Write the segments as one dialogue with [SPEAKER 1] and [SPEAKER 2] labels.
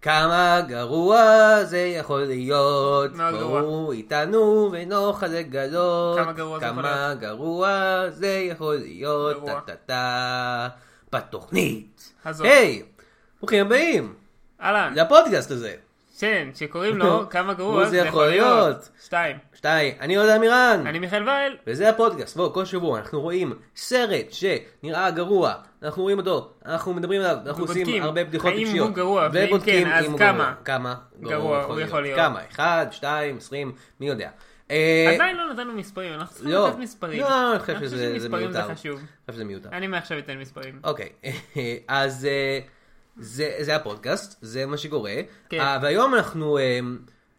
[SPEAKER 1] כמה גרוע זה יכול להיות,
[SPEAKER 2] מאוד גרוע.
[SPEAKER 1] בואו איתנו ונוכל לגלות,
[SPEAKER 2] כמה גרוע זה יכול
[SPEAKER 1] כמה
[SPEAKER 2] להיות.
[SPEAKER 1] גרוע זה יכול להיות,
[SPEAKER 2] גרוע.
[SPEAKER 1] טה-טה-טה, בתוכנית.
[SPEAKER 2] הזאת.
[SPEAKER 1] היי, ברוכים הבאים אה.
[SPEAKER 2] אהלן,
[SPEAKER 1] לפודקאסט הזה.
[SPEAKER 2] כן, שקוראים לו כמה גרוע
[SPEAKER 1] מה זה יכול להיות?
[SPEAKER 2] שתיים.
[SPEAKER 1] שתיים, אני יהודה מירן.
[SPEAKER 2] אני מיכאל וייל,
[SPEAKER 1] וזה הפודקאסט, בואו, כל שבוע אנחנו רואים סרט שנראה גרוע, אנחנו רואים אותו, אנחנו מדברים עליו, אנחנו
[SPEAKER 2] ובודקים
[SPEAKER 1] עושים הרבה בדיחות
[SPEAKER 2] האם
[SPEAKER 1] טיפשיות.
[SPEAKER 2] הוא גרוע, ואם
[SPEAKER 1] ובודקים
[SPEAKER 2] כן, אז
[SPEAKER 1] אם הוא
[SPEAKER 2] כמה?
[SPEAKER 1] גרוע. כמה
[SPEAKER 2] גרוע
[SPEAKER 1] גרוע
[SPEAKER 2] הוא
[SPEAKER 1] יכול
[SPEAKER 2] יכול
[SPEAKER 1] להיות.
[SPEAKER 2] להיות.
[SPEAKER 1] כמה? אחד, שתיים, עשרים, מי יודע. אה,
[SPEAKER 2] עדיין לא נתנו מספרים, אנחנו צריכים
[SPEAKER 1] לא.
[SPEAKER 2] לתת מספרים.
[SPEAKER 1] לא, אני חושב שזה- זה
[SPEAKER 2] שמספרים
[SPEAKER 1] מיותר.
[SPEAKER 2] זה חשוב.
[SPEAKER 1] אני
[SPEAKER 2] אה.
[SPEAKER 1] חושב שזה מיותר.
[SPEAKER 2] אני מעכשיו אתן מספרים.
[SPEAKER 1] אוקיי, אז אה, זה זה הפודקאסט, זה מה שקורה.
[SPEAKER 2] כן.
[SPEAKER 1] אה, והיום אנחנו... אה,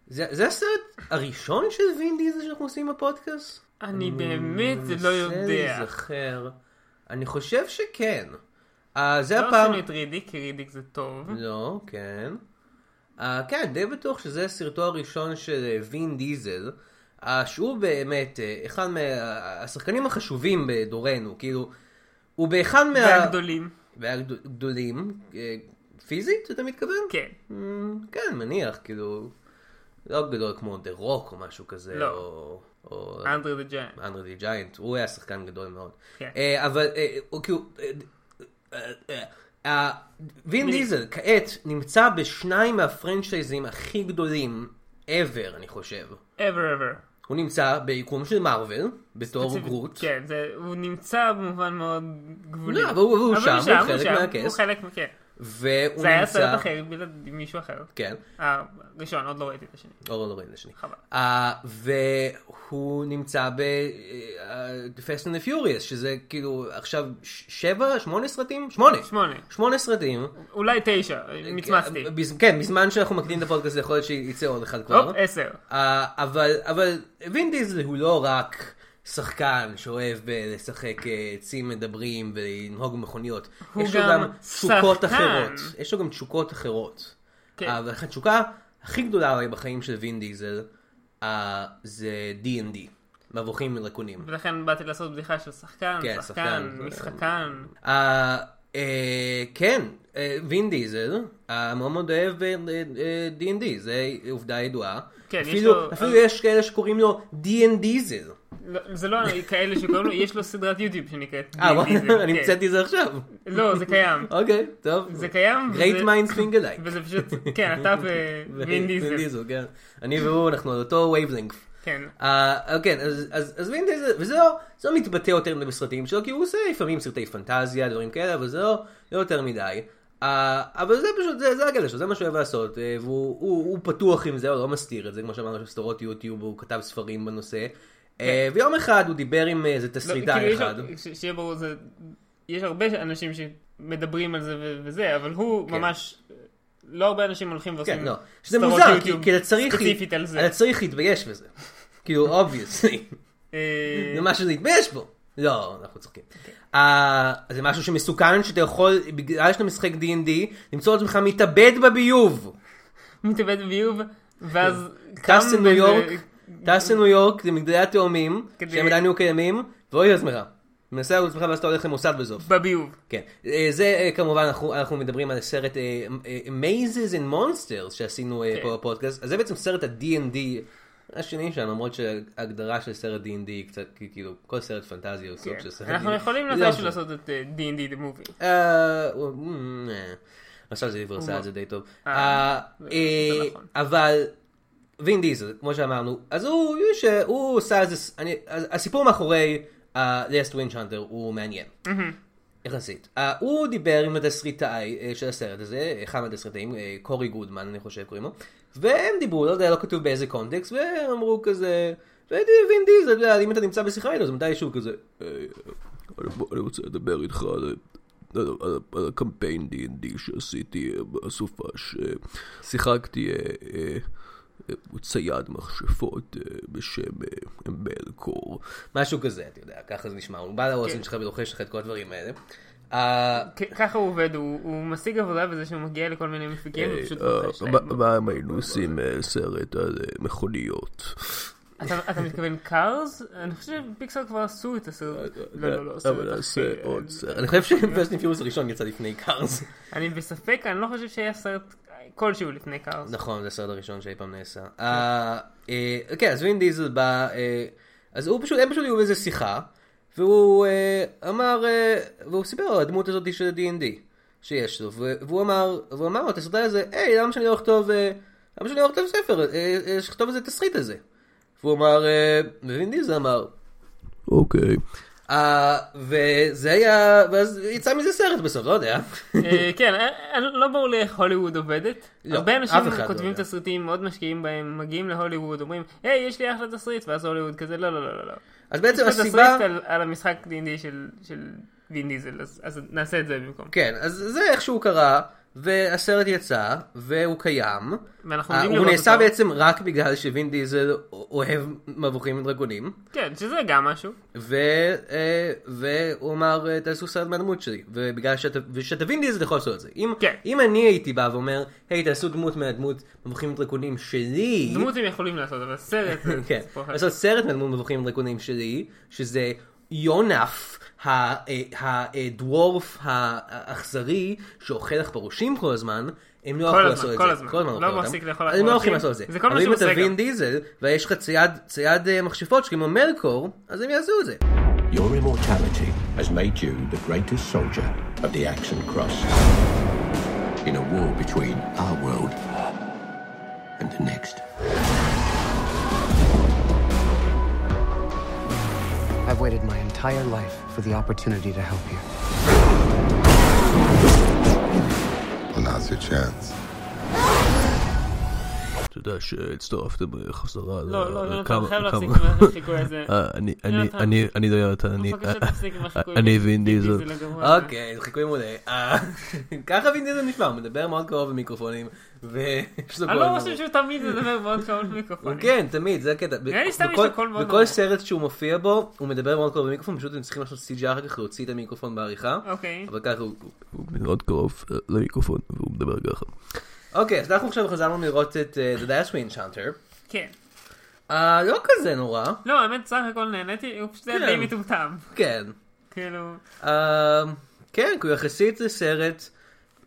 [SPEAKER 1] זה זה הסרט הראשון של וין דיזל שאנחנו עושים בפודקאסט?
[SPEAKER 2] אני באמת לא
[SPEAKER 1] מנסה
[SPEAKER 2] יודע.
[SPEAKER 1] להיזכר. אני חושב שכן. אה, זה
[SPEAKER 2] לא
[SPEAKER 1] הפעם...
[SPEAKER 2] עשינו את רידיק, כי רידיק זה טוב.
[SPEAKER 1] לא, כן. אה, כן, די בטוח שזה סרטו הראשון של אה, וין דיזל. אה, שהוא באמת אה, אחד מהשחקנים החשובים בדורנו, כאילו, הוא באחד מה...
[SPEAKER 2] והגדולים.
[SPEAKER 1] והגדולים. אה, פיזית, אתה מתכוון?
[SPEAKER 2] כן.
[SPEAKER 1] Mm, כן, מניח, כאילו, לא גדול כמו דה רוק או משהו כזה,
[SPEAKER 2] לא. אה,
[SPEAKER 1] או... או...
[SPEAKER 2] אנדרי דה ג'יינט.
[SPEAKER 1] אנדרי די ג'יינט, הוא היה שחקן גדול מאוד.
[SPEAKER 2] כן.
[SPEAKER 1] אה, אבל אה, הוא כאילו... אה, אה, אה, אה, וין דיזל כעת נמצא בשניים מהפרנצ'ייזים הכי גדולים ever, אני חושב.
[SPEAKER 2] ever ever.
[SPEAKER 1] הוא נמצא ביקום של מארוול, בתור
[SPEAKER 2] ספציפית-
[SPEAKER 1] גרוט.
[SPEAKER 2] כן, זה- הוא נמצא במובן מאוד גבולי.
[SPEAKER 1] לא, אבל הוא- הוא שם, הוא חלק
[SPEAKER 2] שם, הוא
[SPEAKER 1] מהכס.
[SPEAKER 2] חלק, מה- כן.
[SPEAKER 1] והוא
[SPEAKER 2] זה היה
[SPEAKER 1] נמצא-
[SPEAKER 2] סרט אחר בלעד מישהו אחר.
[SPEAKER 1] כן,
[SPEAKER 2] הראשון, עוד לא ראיתי את השני.
[SPEAKER 1] אורן אורן לשני.
[SPEAKER 2] חבל.
[SPEAKER 1] Uh, והוא נמצא ב- אה, אה, Fast and the Furious, שזה כאילו עכשיו ש- שבע, שמונה סרטים? שמונה.
[SPEAKER 2] שמונה.
[SPEAKER 1] שמונה סרטים.
[SPEAKER 2] אולי תשע,
[SPEAKER 1] אה,
[SPEAKER 2] מצמצתי.
[SPEAKER 1] בז- כן, בזמן שאנחנו מקליטים את הפודקאסט יכול להיות שייצא עוד אחד כבר.
[SPEAKER 2] הופ, עשר.
[SPEAKER 1] אה, אבל, אבל וין דיזל הוא לא רק שחקן שאוהב אה, לשחק אה, עצים מדברים ולנהוג במכוניות.
[SPEAKER 2] הוא
[SPEAKER 1] יש לו
[SPEAKER 2] גם
[SPEAKER 1] גם תשוקות
[SPEAKER 2] שחקן.
[SPEAKER 1] אחרות. יש לו גם תשוקות אחרות.
[SPEAKER 2] כן.
[SPEAKER 1] אה, אבל התשוקה הכי גדולה הרי בחיים של וין דיזל אה, זה D&D, מבוכים מלקונים.
[SPEAKER 2] ולכן באתי לעשות בדיחה של שחקן,
[SPEAKER 1] כן, שחקן.
[SPEAKER 2] שחקן, משחקן.
[SPEAKER 1] אה, אה, כן, אה, וין דיזל אה, מאוד מאוד אוהב אה, אה, D&D, זה עובדה ידועה.
[SPEAKER 2] כן, יש
[SPEAKER 1] אפילו-
[SPEAKER 2] לו-
[SPEAKER 1] אפילו יש כאלה שקוראים לו D&Dזל.
[SPEAKER 2] לא, זה לא כאלה שקוראים לו, יש לו סדרת יוטיוב שנקראת
[SPEAKER 1] אה,
[SPEAKER 2] דיל דיזל,
[SPEAKER 1] אני
[SPEAKER 2] כן.
[SPEAKER 1] המצאתי את זה עכשיו.
[SPEAKER 2] לא, זה קיים.
[SPEAKER 1] אוקיי, טוב.
[SPEAKER 2] זה קיים.
[SPEAKER 1] Great
[SPEAKER 2] וזה-
[SPEAKER 1] minds think alike.
[SPEAKER 2] וזה פשוט, כן, אתה ווין דיזל.
[SPEAKER 1] כן. אני והוא, אנחנו על אותו וייבלינגף.
[SPEAKER 2] כן.
[SPEAKER 1] אה, כן, אז- אז אז וין דיזל, וזה לא- זה לא מתבטא יותר מדי בסרטים שלו, כי הוא עושה לפעמים סרטי פנטזיה, דברים כאלה, אבל זה לא לא יותר מדי. אה, אבל זה פשוט, זה זה הגדל שלו, זה מה שהוא אוהב לעשות, אה, והוא הוא- הוא פתוח עם זה, הוא לא מסתיר את זה, כמו שאמרנו, יש לו סדרות יוטיוב, הוא כתב ספרים בנושא. אה, ויום אחד הוא דיבר עם איזה
[SPEAKER 2] כן. לא,
[SPEAKER 1] תסריטאי
[SPEAKER 2] כאילו, יש-
[SPEAKER 1] אחד.
[SPEAKER 2] ש- שיהיה ברור, זה- יש הרבה אנשים שמדברים על זה ו- וזה, אבל הוא
[SPEAKER 1] כן.
[SPEAKER 2] ממש, לא הרבה אנשים הולכים ועושים
[SPEAKER 1] כן, לא. שזה
[SPEAKER 2] סדרות
[SPEAKER 1] מוזר, כי-
[SPEAKER 2] יוטיוב
[SPEAKER 1] כי אתה צריך...
[SPEAKER 2] ספציפית על זה.
[SPEAKER 1] אתה צריך להתבייש בזה. כאילו, אובייסלי.
[SPEAKER 2] אה,
[SPEAKER 1] זה משהו להתבייש בו. לא, אנחנו צוחקים.
[SPEAKER 2] אוקיי.
[SPEAKER 1] אה, זה משהו שמסוכן, שאתה יכול, בגלל שאתה משחק D&D, למצוא את עצמך מתאבד בביוב.
[SPEAKER 2] מתאבד ביוב, ואז
[SPEAKER 3] כן.
[SPEAKER 2] קם
[SPEAKER 1] טס לניו
[SPEAKER 2] באיזה-
[SPEAKER 1] יורק, טס לניו יורק, למגדלי התאומים,
[SPEAKER 2] כדי-
[SPEAKER 1] שהם עדיין היו קיימים, ואוי לעצמך. מנסה על עצמך ואז אתה הולך למוסד בסוף.
[SPEAKER 2] בביוב.
[SPEAKER 1] כן, אה, זה אה, כמובן אנחנו, אנחנו מדברים על הסרט אה, אה, Mazes and Monsters שעשינו אה,
[SPEAKER 2] כן.
[SPEAKER 1] פה בפודקאסט, אז זה בעצם סרט ה-D&D השני שם, למרות שההגדרה של סרט D&D היא קצת, כי- כאילו, כל סרט פנטזי הוא סוג
[SPEAKER 2] כן.
[SPEAKER 1] של סרט
[SPEAKER 2] אנחנו
[SPEAKER 1] D&D.
[SPEAKER 2] יכולים
[SPEAKER 1] לא
[SPEAKER 2] לתת
[SPEAKER 1] משנה.
[SPEAKER 2] לעשות את אה, D&D the movie.
[SPEAKER 1] אה, הוא- אמ, אה. עכשיו זה עבר עשה את זה די טוב.
[SPEAKER 2] אה,
[SPEAKER 1] אה,
[SPEAKER 2] זה-
[SPEAKER 1] אה,
[SPEAKER 2] זה נכון.
[SPEAKER 1] אבל וין דיזל, כמו שאמרנו, אז הוא הוא ש- הוא עשה איזה, ס- אני- אז הסיפור מאחורי לסט ווינצ'אנטר הוא מעניין. יחסית. Uh, הוא דיבר עם התסריטאי uh, של הסרט הזה, אחד מהתסריטאים, uh, קורי גודמן אני חושב קוראים לו, והם דיברו, לא יודע, לא כתוב באיזה קונטקסט, והם אמרו כזה, וין דיזל, אתה יודע, אם אתה נמצא בשיחה איתו, אז מתישהו כזה, "אה,
[SPEAKER 3] אני, אני רוצה לדבר איתך על, ה- על, ה- על, ה- על הקמפיין D&D שעשיתי אה, בסופש. אה, שיחקתי אה, אה, אה, צייד מכשפות אה, בשם אה, מלקור.
[SPEAKER 1] משהו כזה, אתה יודע, ככה זה נשמע, הוא בא לאוזן
[SPEAKER 2] כן.
[SPEAKER 1] שלך ולוחש לך את כל הדברים האלה. אה,
[SPEAKER 2] כ- ככה הוא עובד, הוא הוא משיג עבודה בזה שהוא מגיע לכל מיני מפיקים
[SPEAKER 3] אה,
[SPEAKER 2] ופשוט
[SPEAKER 3] אה,
[SPEAKER 2] רוכש
[SPEAKER 3] מה-
[SPEAKER 2] להם.
[SPEAKER 3] מה אם היינו עושים אה, סרט על אה, מכוניות? אה.
[SPEAKER 2] אתה אתה מתכוון קארס? אני חושב שפיקסר כבר עשו את הסרט. לא, לא, לא, עשו את
[SPEAKER 3] אה, אבל
[SPEAKER 2] הסרט.
[SPEAKER 3] נעשה עוד סרט.
[SPEAKER 1] אני חושב שפרסטין פיורס הראשון יצא לפני קארס.
[SPEAKER 2] אני בספק, אני לא חושב שהיה סרט כלשהו לפני קארס.
[SPEAKER 1] נכון, זה הסרט הראשון שאי פעם נעשה. אה, אה, כן, אז וין דיזל בא, אה, אז הוא פשוט, הם פשוט היו באיזה שיחה, והוא אה, אמר, אה, והוא סיפר על הדמות הזאת של D&D שיש לו, ו- והוא אמר, והוא אמר לו, את הסרטה הזה, היי, למה שאני לא אכתוב, אה, למה שאני לא אכתוב ספר, אה, אה, שכתוב את התסריט הזה. והוא אמר, אה, ווין דיזל אמר,
[SPEAKER 3] אוקיי.
[SPEAKER 1] אה, וזה היה, ואז יצא מזה סרט בסוף, לא יודע.
[SPEAKER 2] אה, כן, אה, אה, לא ברור לי איך הוליווד עובדת.
[SPEAKER 1] לא,
[SPEAKER 2] הרבה אנשים
[SPEAKER 1] אף אחד לא
[SPEAKER 2] כותבים
[SPEAKER 1] יודע.
[SPEAKER 2] תסריטים, מאוד משקיעים בהם, מגיעים להוליווד, אומרים, היי, יש לי אחלה תסריט, ואז הוליווד כזה, לא, לא, לא, לא, לא.
[SPEAKER 1] אז
[SPEAKER 2] יש
[SPEAKER 1] בעצם
[SPEAKER 2] לך
[SPEAKER 1] הסיבה...
[SPEAKER 2] תסריט על- על המשחק D&D של- של וין דיזל, אז- אז נעשה את זה במקום.
[SPEAKER 1] כן, אז זה איכשהו קרה, והסרט יצא, והוא קיים.
[SPEAKER 2] ואנחנו
[SPEAKER 1] אה,
[SPEAKER 2] יודעים
[SPEAKER 1] הוא
[SPEAKER 2] לראות
[SPEAKER 1] נעשה
[SPEAKER 2] אותו.
[SPEAKER 1] בעצם רק בגלל שווין דיזל אוהב מבוכים ודרגונים,
[SPEAKER 2] כן, שזה גם משהו.
[SPEAKER 1] ו- אה, והוא אמר, אה, תעשו סרט מהדמות שלי, ובגלל שאתה, ושאתה וין דיזל אתה יכול לעשות את זה. אם,
[SPEAKER 2] כן.
[SPEAKER 1] אם אני הייתי בא ואומר, היי, תעשו דמות מהדמות מבוכים ודרגונים שלי,
[SPEAKER 2] דמות הם יכולים לעשות, אבל סרט זה
[SPEAKER 1] כן,
[SPEAKER 2] סיפור אחר.
[SPEAKER 1] לעשות סרט מהדמות מבוכים ודרקונים שלי, שזה יונף, ה- אה, הדוורף האכזרי, שאוכל עכברושים כל הזמן, הם לא
[SPEAKER 2] כל
[SPEAKER 1] יכולים
[SPEAKER 2] הזמן,
[SPEAKER 1] לעשות את זה.
[SPEAKER 2] כל הזמן.
[SPEAKER 1] הוא
[SPEAKER 2] לא
[SPEAKER 1] אוכל
[SPEAKER 2] מפסיק
[SPEAKER 1] אותם.
[SPEAKER 2] לאכול
[SPEAKER 1] הם לא
[SPEAKER 2] עכברושים.
[SPEAKER 1] יכולים לעשות את זה.
[SPEAKER 2] זה כל מה
[SPEAKER 1] אבל אם
[SPEAKER 2] שהוא
[SPEAKER 1] אתה
[SPEAKER 2] עושה גם.
[SPEAKER 1] וין דיזל, ויש לך צייד, צייד אה, מכשפות שקוראים לו מלקור, אז הם יעשו את זה.
[SPEAKER 4] Your immortality has made you the greatest soldier of the Action Cross. In a war between our world and the next.
[SPEAKER 5] I've waited my entire life for the opportunity to help you.
[SPEAKER 6] Well, now's your chance.
[SPEAKER 3] אתה יודע שהצטרפתם אה, חזרה.
[SPEAKER 2] לא, לא,
[SPEAKER 3] אה,
[SPEAKER 2] יונתן,
[SPEAKER 3] כמה-
[SPEAKER 2] חייב להפסיק
[SPEAKER 3] כמה-
[SPEAKER 2] עם לא החיקוי הזה.
[SPEAKER 3] אה, אני, אני,
[SPEAKER 2] יונתן.
[SPEAKER 3] אני, אני דיורת, אני, אה,
[SPEAKER 2] בבקשה תפסיק עם החיקוי.
[SPEAKER 3] אני וין דיזל.
[SPEAKER 2] דיזל הגרוע הזה.
[SPEAKER 1] אוקיי, חיקוי מעולה. אה, ככה וין דיזל נשמע, הוא מדבר מאוד קרוב למיקרופונים, ויש לו
[SPEAKER 2] אני
[SPEAKER 1] קול
[SPEAKER 2] לא
[SPEAKER 1] מאוד-
[SPEAKER 2] חושב שהוא תמיד מדבר מאוד קרוב למיקרופונים.
[SPEAKER 1] כן, תמיד, זה הקטע.
[SPEAKER 2] נראה לי סתם יש
[SPEAKER 1] בכל-
[SPEAKER 2] לו קול מאוד
[SPEAKER 1] בכל
[SPEAKER 2] נמוך.
[SPEAKER 1] סרט שהוא מופיע בו, הוא מדבר מאוד קרוב במיקרופון, פשוט הם צריכים לעשות CGI אחר כך להוציא את המיקרופון בעריכה.
[SPEAKER 2] אוקיי.
[SPEAKER 1] אבל ככה הוא... הוא-
[SPEAKER 3] הוא מאוד קרוב אה, למיקרופון, והוא מדבר ככה.
[SPEAKER 1] אוקיי, אז אנחנו עכשיו חזרנו לראות את אה, The Dash Win Chanter.
[SPEAKER 2] כן.
[SPEAKER 1] אה, לא כזה נורא,
[SPEAKER 2] לא, האמת, סך הכל נהניתי, הוא פשוט היה
[SPEAKER 1] כן.
[SPEAKER 2] די מטומטם.
[SPEAKER 1] כן.
[SPEAKER 2] כאילו,
[SPEAKER 1] אה, כן, כי הוא יחסית לסרט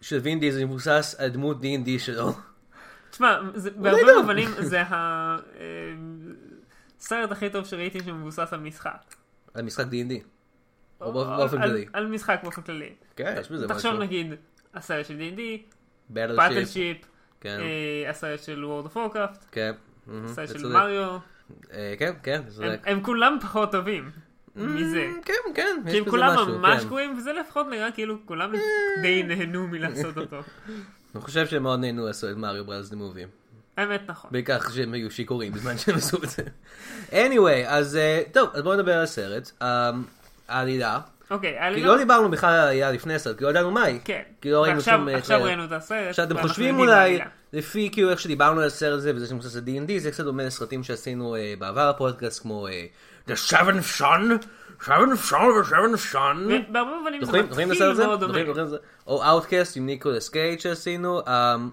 [SPEAKER 1] של וין דיזל מבוסס על דמות D&D שלו.
[SPEAKER 2] תשמע, זה- בהרבה
[SPEAKER 1] לא.
[SPEAKER 2] מובנים זה הסרט הכי טוב שראיתי שמבוסס על משחק.
[SPEAKER 1] על משחק D&D. או
[SPEAKER 2] על-
[SPEAKER 1] באופ- באופן
[SPEAKER 2] על-
[SPEAKER 1] כללי.
[SPEAKER 2] על משחק באופן כללי.
[SPEAKER 1] כן, יש בזה משהו.
[SPEAKER 2] תחשוב נגיד, הסרט של D&D,
[SPEAKER 1] Battleship.
[SPEAKER 2] פאטלשיפ,
[SPEAKER 1] כן,
[SPEAKER 2] אה, הסרט של World of Warcraft,
[SPEAKER 1] כן. מהמם,
[SPEAKER 2] הסרט
[SPEAKER 1] אתה
[SPEAKER 2] של
[SPEAKER 1] צודק.
[SPEAKER 2] מריו,
[SPEAKER 1] אה, כן, כן, אתה
[SPEAKER 2] הם-
[SPEAKER 1] צודק.
[SPEAKER 2] הם כולם פחות טובים מזה.
[SPEAKER 1] כן, כן, יש
[SPEAKER 2] כי הם
[SPEAKER 1] בזה
[SPEAKER 2] אה. כאילו כולם
[SPEAKER 1] משהו,
[SPEAKER 2] ממש
[SPEAKER 1] כן. אה.
[SPEAKER 2] גרועים, וזה לפחות נראה כאילו כולם די נהנו מלעשות אותו.
[SPEAKER 1] אני חושב שהם מאוד נהנו לעשות את מריו ברז דה מובי.
[SPEAKER 2] האמת נכון.
[SPEAKER 1] בכך שהם היו שיכורים בזמן שהם עשו את זה. anyway, אז אה, טוב, אז בואו נדבר על הסרט. אה, העלילה.
[SPEAKER 2] אוקיי,
[SPEAKER 1] כי
[SPEAKER 2] העלילה-
[SPEAKER 1] לא דיברנו בכלל על העלילה לפני הסרט, כי לא ידענו מהי.
[SPEAKER 2] כן.
[SPEAKER 1] כי לא ראינו
[SPEAKER 2] ועכשיו-
[SPEAKER 1] שום... אה,
[SPEAKER 2] עכשיו
[SPEAKER 1] טריילר.
[SPEAKER 2] ראינו את הסרט.
[SPEAKER 1] עכשיו אתם
[SPEAKER 2] ואנחנו
[SPEAKER 1] חושבים
[SPEAKER 2] יודעים
[SPEAKER 1] אולי,
[SPEAKER 2] העלילה.
[SPEAKER 1] לפי כאילו איך שדיברנו על הסרט הזה וזה שמבוסס ל-D&D, זה קצת דומה לסרטים שעשינו אה, בעבר הפודקאסט כמו אה, The Seven Son, Seven Son ו-Seven Son.
[SPEAKER 2] בהרבה מובנים זה
[SPEAKER 1] זוכרים? זוכרים את
[SPEAKER 2] מתחיל
[SPEAKER 1] הסרט הזה?
[SPEAKER 2] מאוד אוקיי. דומה.
[SPEAKER 1] זוכרים- זוכרים את אוקיי, זה? אוקיי, או אאוטקאסט עם ניקולס קייג' שעשינו. אמ,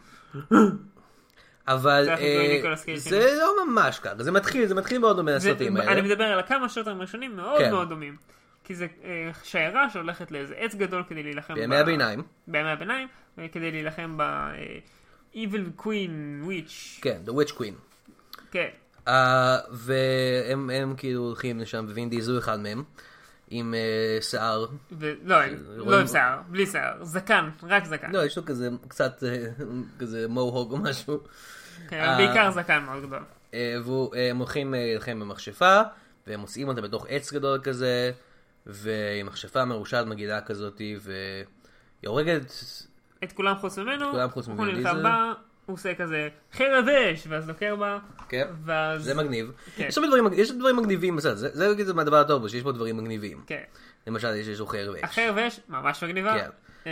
[SPEAKER 1] אבל
[SPEAKER 2] זה אנחנו
[SPEAKER 1] אה,
[SPEAKER 2] קוראים ניקולס קייג'
[SPEAKER 1] זה לא ממש ככה, זה מתחיל, זה מתחיל מאוד דומה
[SPEAKER 2] כאילו. זה-
[SPEAKER 1] לסרטים
[SPEAKER 2] אני
[SPEAKER 1] האלה.
[SPEAKER 2] מדבר על הכמה שוטרים ראשונים מאוד
[SPEAKER 1] אה. כן.
[SPEAKER 2] מאוד דומים. כי זה אה, שיירה שהולכת לאיזה עץ גדול כדי להילחם.
[SPEAKER 1] בימי
[SPEAKER 2] ב-
[SPEAKER 1] הביניים.
[SPEAKER 2] בימי הביניים, אה, כדי להילחם ב... אה, Evil Queen Witch.
[SPEAKER 1] כן, The Witch Queen.
[SPEAKER 2] כן.
[SPEAKER 1] אה, והם הם כאילו הולכים לשם, ווין דיזו אחד מהם, עם אה, שיער.
[SPEAKER 2] ולא, לא
[SPEAKER 1] רואים-
[SPEAKER 2] עם שיער, בלי שיער, זקן, רק זקן.
[SPEAKER 1] לא, יש לו כזה קצת אה, כזה מוהוג או משהו.
[SPEAKER 2] כן, אבל בעיקר זקן מאוד גדול.
[SPEAKER 1] אה, והוא- אה, הם הולכים אה, להילחם במכשפה, והם מוצאים אותה בתוך עץ גדול כזה, ועם מכשפה מרושעת מגעילה כזאת, והיא הורגת...
[SPEAKER 2] את כולם חוץ ממנו,
[SPEAKER 1] כולם חוץ
[SPEAKER 2] הוא
[SPEAKER 1] ממנו,
[SPEAKER 2] נלחם
[SPEAKER 1] זה-
[SPEAKER 2] בה, הוא עושה כזה חרב אש, ואז דוקר בה,
[SPEAKER 1] כן,
[SPEAKER 2] ואז...
[SPEAKER 1] זה מגניב.
[SPEAKER 2] כן.
[SPEAKER 1] יש הרבה דברים, מג- יש דברים מגניבים בסדר, זה זה נגיד זה מהדבר הטוב, בו, שיש פה דברים מגניבים.
[SPEAKER 2] כן.
[SPEAKER 1] למשל, יש איזשהו חרב אש.
[SPEAKER 2] החרב אש ממש מגניבה.
[SPEAKER 1] כן.
[SPEAKER 2] אמ,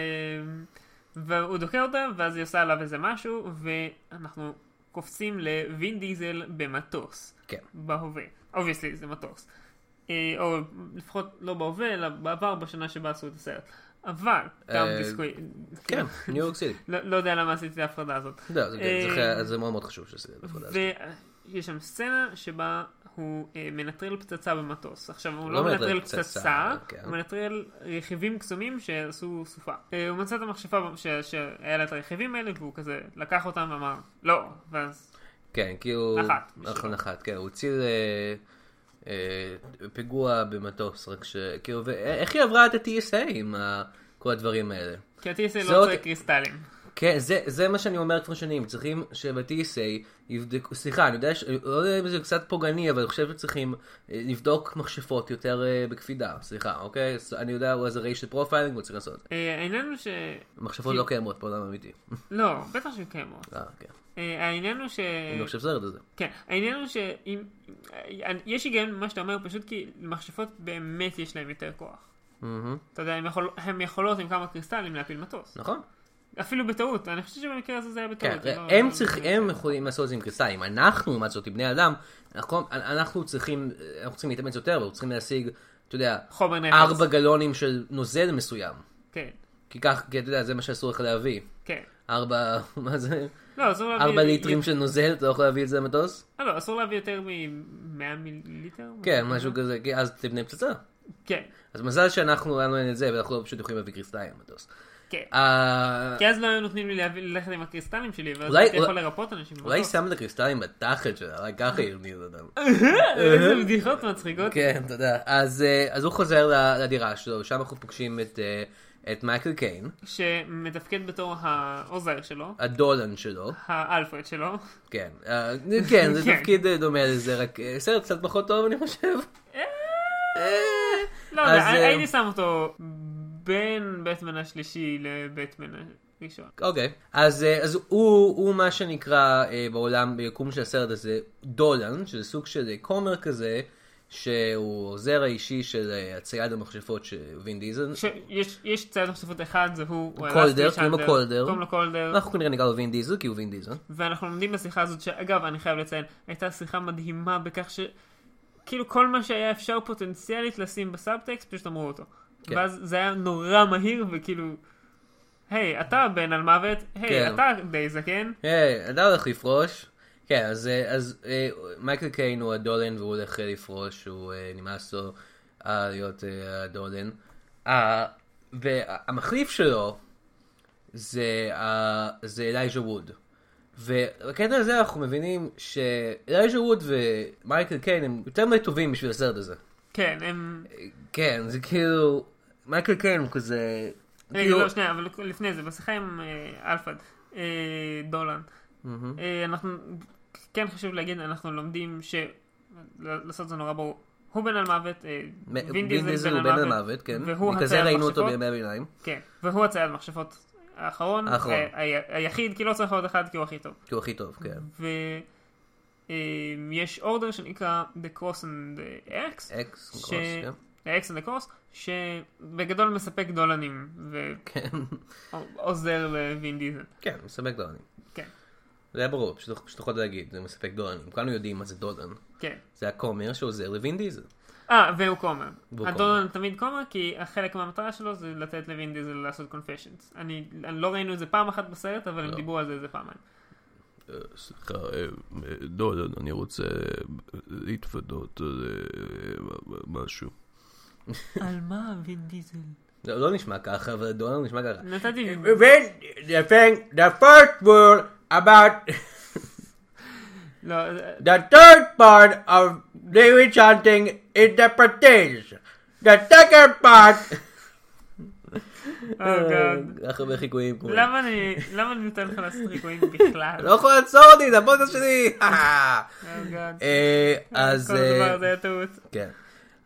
[SPEAKER 2] והוא דוקר אותה, ואז היא עושה עליו איזה משהו, ואנחנו קופצים לווין דיזל במטוס.
[SPEAKER 1] כן.
[SPEAKER 2] בהווה. אובייסלי זה מטוס. אה, או לפחות לא בהווה, אלא בעבר, בשנה שבה עשו את הסרט. אבל גם
[SPEAKER 1] אה,
[SPEAKER 2] דיסקוויד.
[SPEAKER 1] כן, ניו יורק סיטי.
[SPEAKER 2] לא לא יודע למה עשיתי את ההפרדה הזאת.
[SPEAKER 1] לא, זה-
[SPEAKER 2] אה,
[SPEAKER 1] זה- זה מאוד מאוד חשוב שזה הפרדה הזאת.
[SPEAKER 2] ויש שם סצנה שבה הוא אה, מנטרל פצצה במטוס. עכשיו, הוא
[SPEAKER 1] לא
[SPEAKER 2] לא
[SPEAKER 1] מנטרל
[SPEAKER 2] מנטרל
[SPEAKER 1] פצצה,
[SPEAKER 2] פצצה,
[SPEAKER 1] כן.
[SPEAKER 2] הוא מנטרל רכיבים קסומים שעשו סופה. אה, הוא מצא את המכשפה ש- שהיה לה את הרכיבים האלה, והוא כזה לקח אותם ואמר, לא, ואז
[SPEAKER 1] כן, כאילו...
[SPEAKER 2] נחת.
[SPEAKER 1] נכון, נחת, כן, הוא הציל אה, אה, פיגוע במטוס, רק ש... כאילו, ואיך היא עברה את ה-TSA עם ה- כל הדברים האלה?
[SPEAKER 2] כי ה-TSA
[SPEAKER 1] זאת-
[SPEAKER 2] לא צריך קריסטלים.
[SPEAKER 1] כן, זה, זה מה שאני אומר כבר שנים, צריכים שב-TSA יבדקו, סליחה, אני יודע, ש... לא יודע אם זה קצת פוגעני, אבל אני חושב שצריכים אה, לבדוק מכשפות יותר אה, בקפידה, סליחה, אוקיי? ס- אני יודע, הוא איזה רייש פרופיילינג, הוא צריך לעשות את זה.
[SPEAKER 2] אה, העניין הוא ש...
[SPEAKER 1] מכשפות לא קיימות בעולם אמיתי.
[SPEAKER 2] לא, בטח שהן קיימות.
[SPEAKER 1] אה, כן.
[SPEAKER 2] אה, העניין הוא ש...
[SPEAKER 1] אני לא חושב שזה זה.
[SPEAKER 2] כן, העניין הוא שאם... אה, יש היגיון במה שאתה אומר, פשוט כי למכשפות באמת יש להם יותר כוח. אתה יודע, הם, יכול... הם יכולות עם כמה קריסטלים להפיל מטוס.
[SPEAKER 1] נכון?
[SPEAKER 2] אפילו בטעות, אני חושב שבמקרה הזה זה היה
[SPEAKER 1] כן,
[SPEAKER 2] בטעות. זה לא-
[SPEAKER 1] הם צריכים, הם יכולים לעשות את זה עם קריסטלים. אנחנו, לעומת זאת, עם בני אדם, אנחנו- אנחנו צריכים, אנחנו צריכים להתאמץ יותר, ואנחנו צריכים להשיג, אתה יודע,
[SPEAKER 2] חומר נפץ.
[SPEAKER 1] ארבע גלונים של נוזל מסוים.
[SPEAKER 2] כן,
[SPEAKER 1] כי כך, כי אתה יודע, זה מה שאסור לך להביא.
[SPEAKER 2] כן.
[SPEAKER 1] ארבע, מה זה?
[SPEAKER 2] לא, אסור להביא...
[SPEAKER 1] ארבע ליטרים של נוזל, אתה לא יכול להביא את זה למטוס?
[SPEAKER 2] אה, לא, אסור להביא יותר מ-100 מיליליטר?
[SPEAKER 1] כן, משהו כזה, כי אז תבנה פצצה.
[SPEAKER 2] כן,
[SPEAKER 1] אז מזל שאנחנו, לנו אין את זה, ואנחנו לא פשוט יכולים להביא קריסטלים למטוס.
[SPEAKER 2] כן.
[SPEAKER 1] אה,
[SPEAKER 2] כי אז לא היו נותנים לי להביא- ללכת עם הקריסטלים שלי, ואז
[SPEAKER 1] אולי-
[SPEAKER 2] הייתי יכול
[SPEAKER 1] אולי-
[SPEAKER 2] לרפות אנשים. אוקיי.
[SPEAKER 1] אולי
[SPEAKER 2] במטוס.
[SPEAKER 1] שם את הקריסטלים בתחת שלה, רק ככה ירניר אותם.
[SPEAKER 2] איזה בדיחות מצחיקות.
[SPEAKER 1] כן, תודה. אז אה, אז הוא חוזר ל- לדירה שלו, שם אנחנו פוגשים את, אה, את מייקל קיין,
[SPEAKER 2] שמתפקד בתור העוזר שלו,
[SPEAKER 1] הדולן שלו,
[SPEAKER 2] האלפרד שלו.
[SPEAKER 1] כן, אה, כן, זה
[SPEAKER 2] כן.
[SPEAKER 1] תפקיד אה, דומה לזה, רק אה, סרט קצת פחות טוב אני חושב. אה,
[SPEAKER 2] לא,
[SPEAKER 1] אז,
[SPEAKER 2] יודע,
[SPEAKER 1] אה,
[SPEAKER 2] הייתי שם אותו בין בטמן השלישי לבטמן הראשון.
[SPEAKER 1] אוקיי, אז, אה, אז הוא, הוא מה שנקרא אה, בעולם, ביקום של הסרט הזה, דולן, שזה סוג של אה, כומר כזה, שהוא העוזר האישי של אה, הצייד המכשפות של וין דיזל.
[SPEAKER 2] שיש יש צייד מחשבות אחד, זה הוא, הוא
[SPEAKER 1] קולדר,
[SPEAKER 2] אלסטי
[SPEAKER 1] קוראים לו
[SPEAKER 2] צ'נדלר,
[SPEAKER 1] קולדר. נכון.
[SPEAKER 2] קוראים לו קולדר,
[SPEAKER 1] אנחנו כנראה נקרא לו וין דיזל, כי הוא וין דיזל.
[SPEAKER 2] ואנחנו לומדים בשיחה הזאת, שאגב, אני חייב לציין, הייתה שיחה מדהימה בכך ש... כאילו כל מה שהיה אפשר פוטנציאלית לשים בסאבטקסט, פשוט אמרו אותו.
[SPEAKER 1] כן.
[SPEAKER 2] ואז זה היה נורא מהיר, וכאילו... היי, אתה בן על מוות, היי,
[SPEAKER 1] כן.
[SPEAKER 2] אתה די זקן.
[SPEAKER 1] היי, אתה הולך לפרוש. כן, אז, אה, אז אה, מייקל קיין הוא הדולן והוא הולך אה, לפרוש, הוא אה, נמאס לו אה, להיות אה, הדולן. אה, והמחליף שלו זה, אה, זה אלייז'ה ווד. ובקטע הזה אנחנו מבינים שאלייז'ה ווד ומייקל קיין הם יותר מדי טובים בשביל הסרט הזה.
[SPEAKER 2] כן, הם...
[SPEAKER 1] כן, זה כאילו, מייקל קיין הוא כזה...
[SPEAKER 2] רגע,
[SPEAKER 1] כאילו-
[SPEAKER 2] לא, שנייה, אבל לפני זה, בשיחה עם אה, אלפרד, אה, דולן, אה, אנחנו, כן חשוב להגיד, אנחנו לומדים ש... לעשות זה נורא ברור. הוא בן על מוות, אה,
[SPEAKER 1] מ- וין דיזל הוא בן למוות, כן.
[SPEAKER 2] והוא
[SPEAKER 1] בגלל זה
[SPEAKER 2] הצייד
[SPEAKER 1] ראינו אותו
[SPEAKER 2] מכשפות.
[SPEAKER 1] בימי הביניים.
[SPEAKER 2] כן, והוא הצייד מכשפות האחרון,
[SPEAKER 1] האחרון.
[SPEAKER 2] אה, ה- היחיד, כי לא צריך עוד אחד, כי הוא הכי טוב.
[SPEAKER 1] כי הוא הכי טוב, כן.
[SPEAKER 2] ויש אורדר שנקרא The Cross and the X,
[SPEAKER 1] אקס,
[SPEAKER 2] ש-
[SPEAKER 1] קרוס, כן.
[SPEAKER 2] The X and the Cross, שבגדול מספק דולנים,
[SPEAKER 1] כן,
[SPEAKER 2] ועוזר לווין דיזל.
[SPEAKER 1] כן, מספק דולרים.
[SPEAKER 2] כן,
[SPEAKER 1] זה היה ברור, פשוט פשוט יכולת להגיד, זה מספק דולרים. כולנו יודעים מה זה דולן.
[SPEAKER 2] כן.
[SPEAKER 1] זה הכומר שעוזר לווין דיזל.
[SPEAKER 2] אה, והוא כומר.
[SPEAKER 1] והוא
[SPEAKER 2] הדונלד תמיד כומר, כי חלק מהמטרה שלו זה לתת לווין דיזל לעשות קונפשיונס. אני, אני לא ראינו את זה פעם אחת בסרט, אבל
[SPEAKER 1] לא.
[SPEAKER 2] הם דיברו על זה איזה פעמיים.
[SPEAKER 3] סליחה, אה, אה, דולן, אני רוצה אה, להתוודות על אה, מ- מ- משהו.
[SPEAKER 2] על מה ווין דיזל?
[SPEAKER 1] זה לא נשמע ככה, אבל דולר נשמע ככה.
[SPEAKER 2] נתתי...
[SPEAKER 1] אה, Well, the thing, the first rule about
[SPEAKER 2] לא, אה,
[SPEAKER 1] the third part of David chanting is the prestige. The second part...
[SPEAKER 2] אה, גאד.
[SPEAKER 1] כל כך הרבה חיקויים כמו...
[SPEAKER 2] למה אני למה אני נותן לך לעשות ריקויים בכלל?
[SPEAKER 1] לא יכול לעצור אותי, זה הפודקאסט שלי!
[SPEAKER 2] אה, גאד.
[SPEAKER 1] אה, אז...
[SPEAKER 2] כל
[SPEAKER 1] אה,
[SPEAKER 2] הדבר הזה היה טעות.
[SPEAKER 1] כן.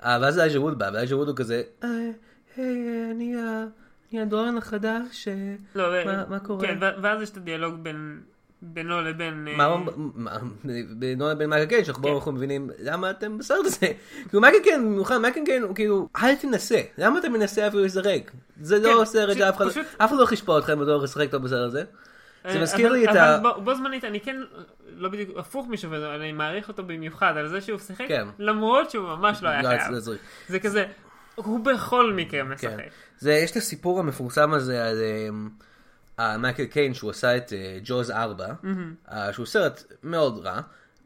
[SPEAKER 1] אה, ואז אייג'ה ווד בא, ואייג'ה ווד הוא כזה, "אה, היי, אה, אני ה- אני הדורן החדש, אה,
[SPEAKER 2] לא, אה,
[SPEAKER 1] מה- מה קורה?
[SPEAKER 2] כן, ו- ואז יש את הדיאלוג בין... בינו לבין... אה,
[SPEAKER 1] מה הוא אמר? בינו לבין מייקל קיין, שאנחנו
[SPEAKER 2] כן.
[SPEAKER 1] בואו אנחנו מבינים למה אתם בסרט הזה. כאילו מייקל קיין, במיוחד מייקל קיין הוא כאילו, אל תנסה, למה אתה מנסה אפילו לשחק? זה לא
[SPEAKER 2] כן,
[SPEAKER 1] סרט
[SPEAKER 2] פשוט-
[SPEAKER 1] שאף אחד,
[SPEAKER 2] פשוט-
[SPEAKER 1] אף אחד לא הולך לשפוט אותך אם אתה לא הולך לשחק טוב בסרט הזה. זה
[SPEAKER 2] אה,
[SPEAKER 1] מזכיר
[SPEAKER 2] אבל-
[SPEAKER 1] לי את
[SPEAKER 2] אבל
[SPEAKER 1] ה...
[SPEAKER 2] בו- בו זמנית, אני כן, לא בדיוק, הפוך משופט, אבל אני מעריך אותו במיוחד, על זה שהוא שיחק,
[SPEAKER 1] כן.
[SPEAKER 2] למרות שהוא ממש לא היה
[SPEAKER 1] לא,
[SPEAKER 2] חייב.
[SPEAKER 1] זה- זה-
[SPEAKER 2] זה כזה, הוא בכל מקרה משחק.
[SPEAKER 1] כן. זה, יש את הסיפור המפורסם הזה על אמ, אה, מייקל קיין שהוא עשה את אה, ג'וז 4, אה, שהוא סרט מאוד רע,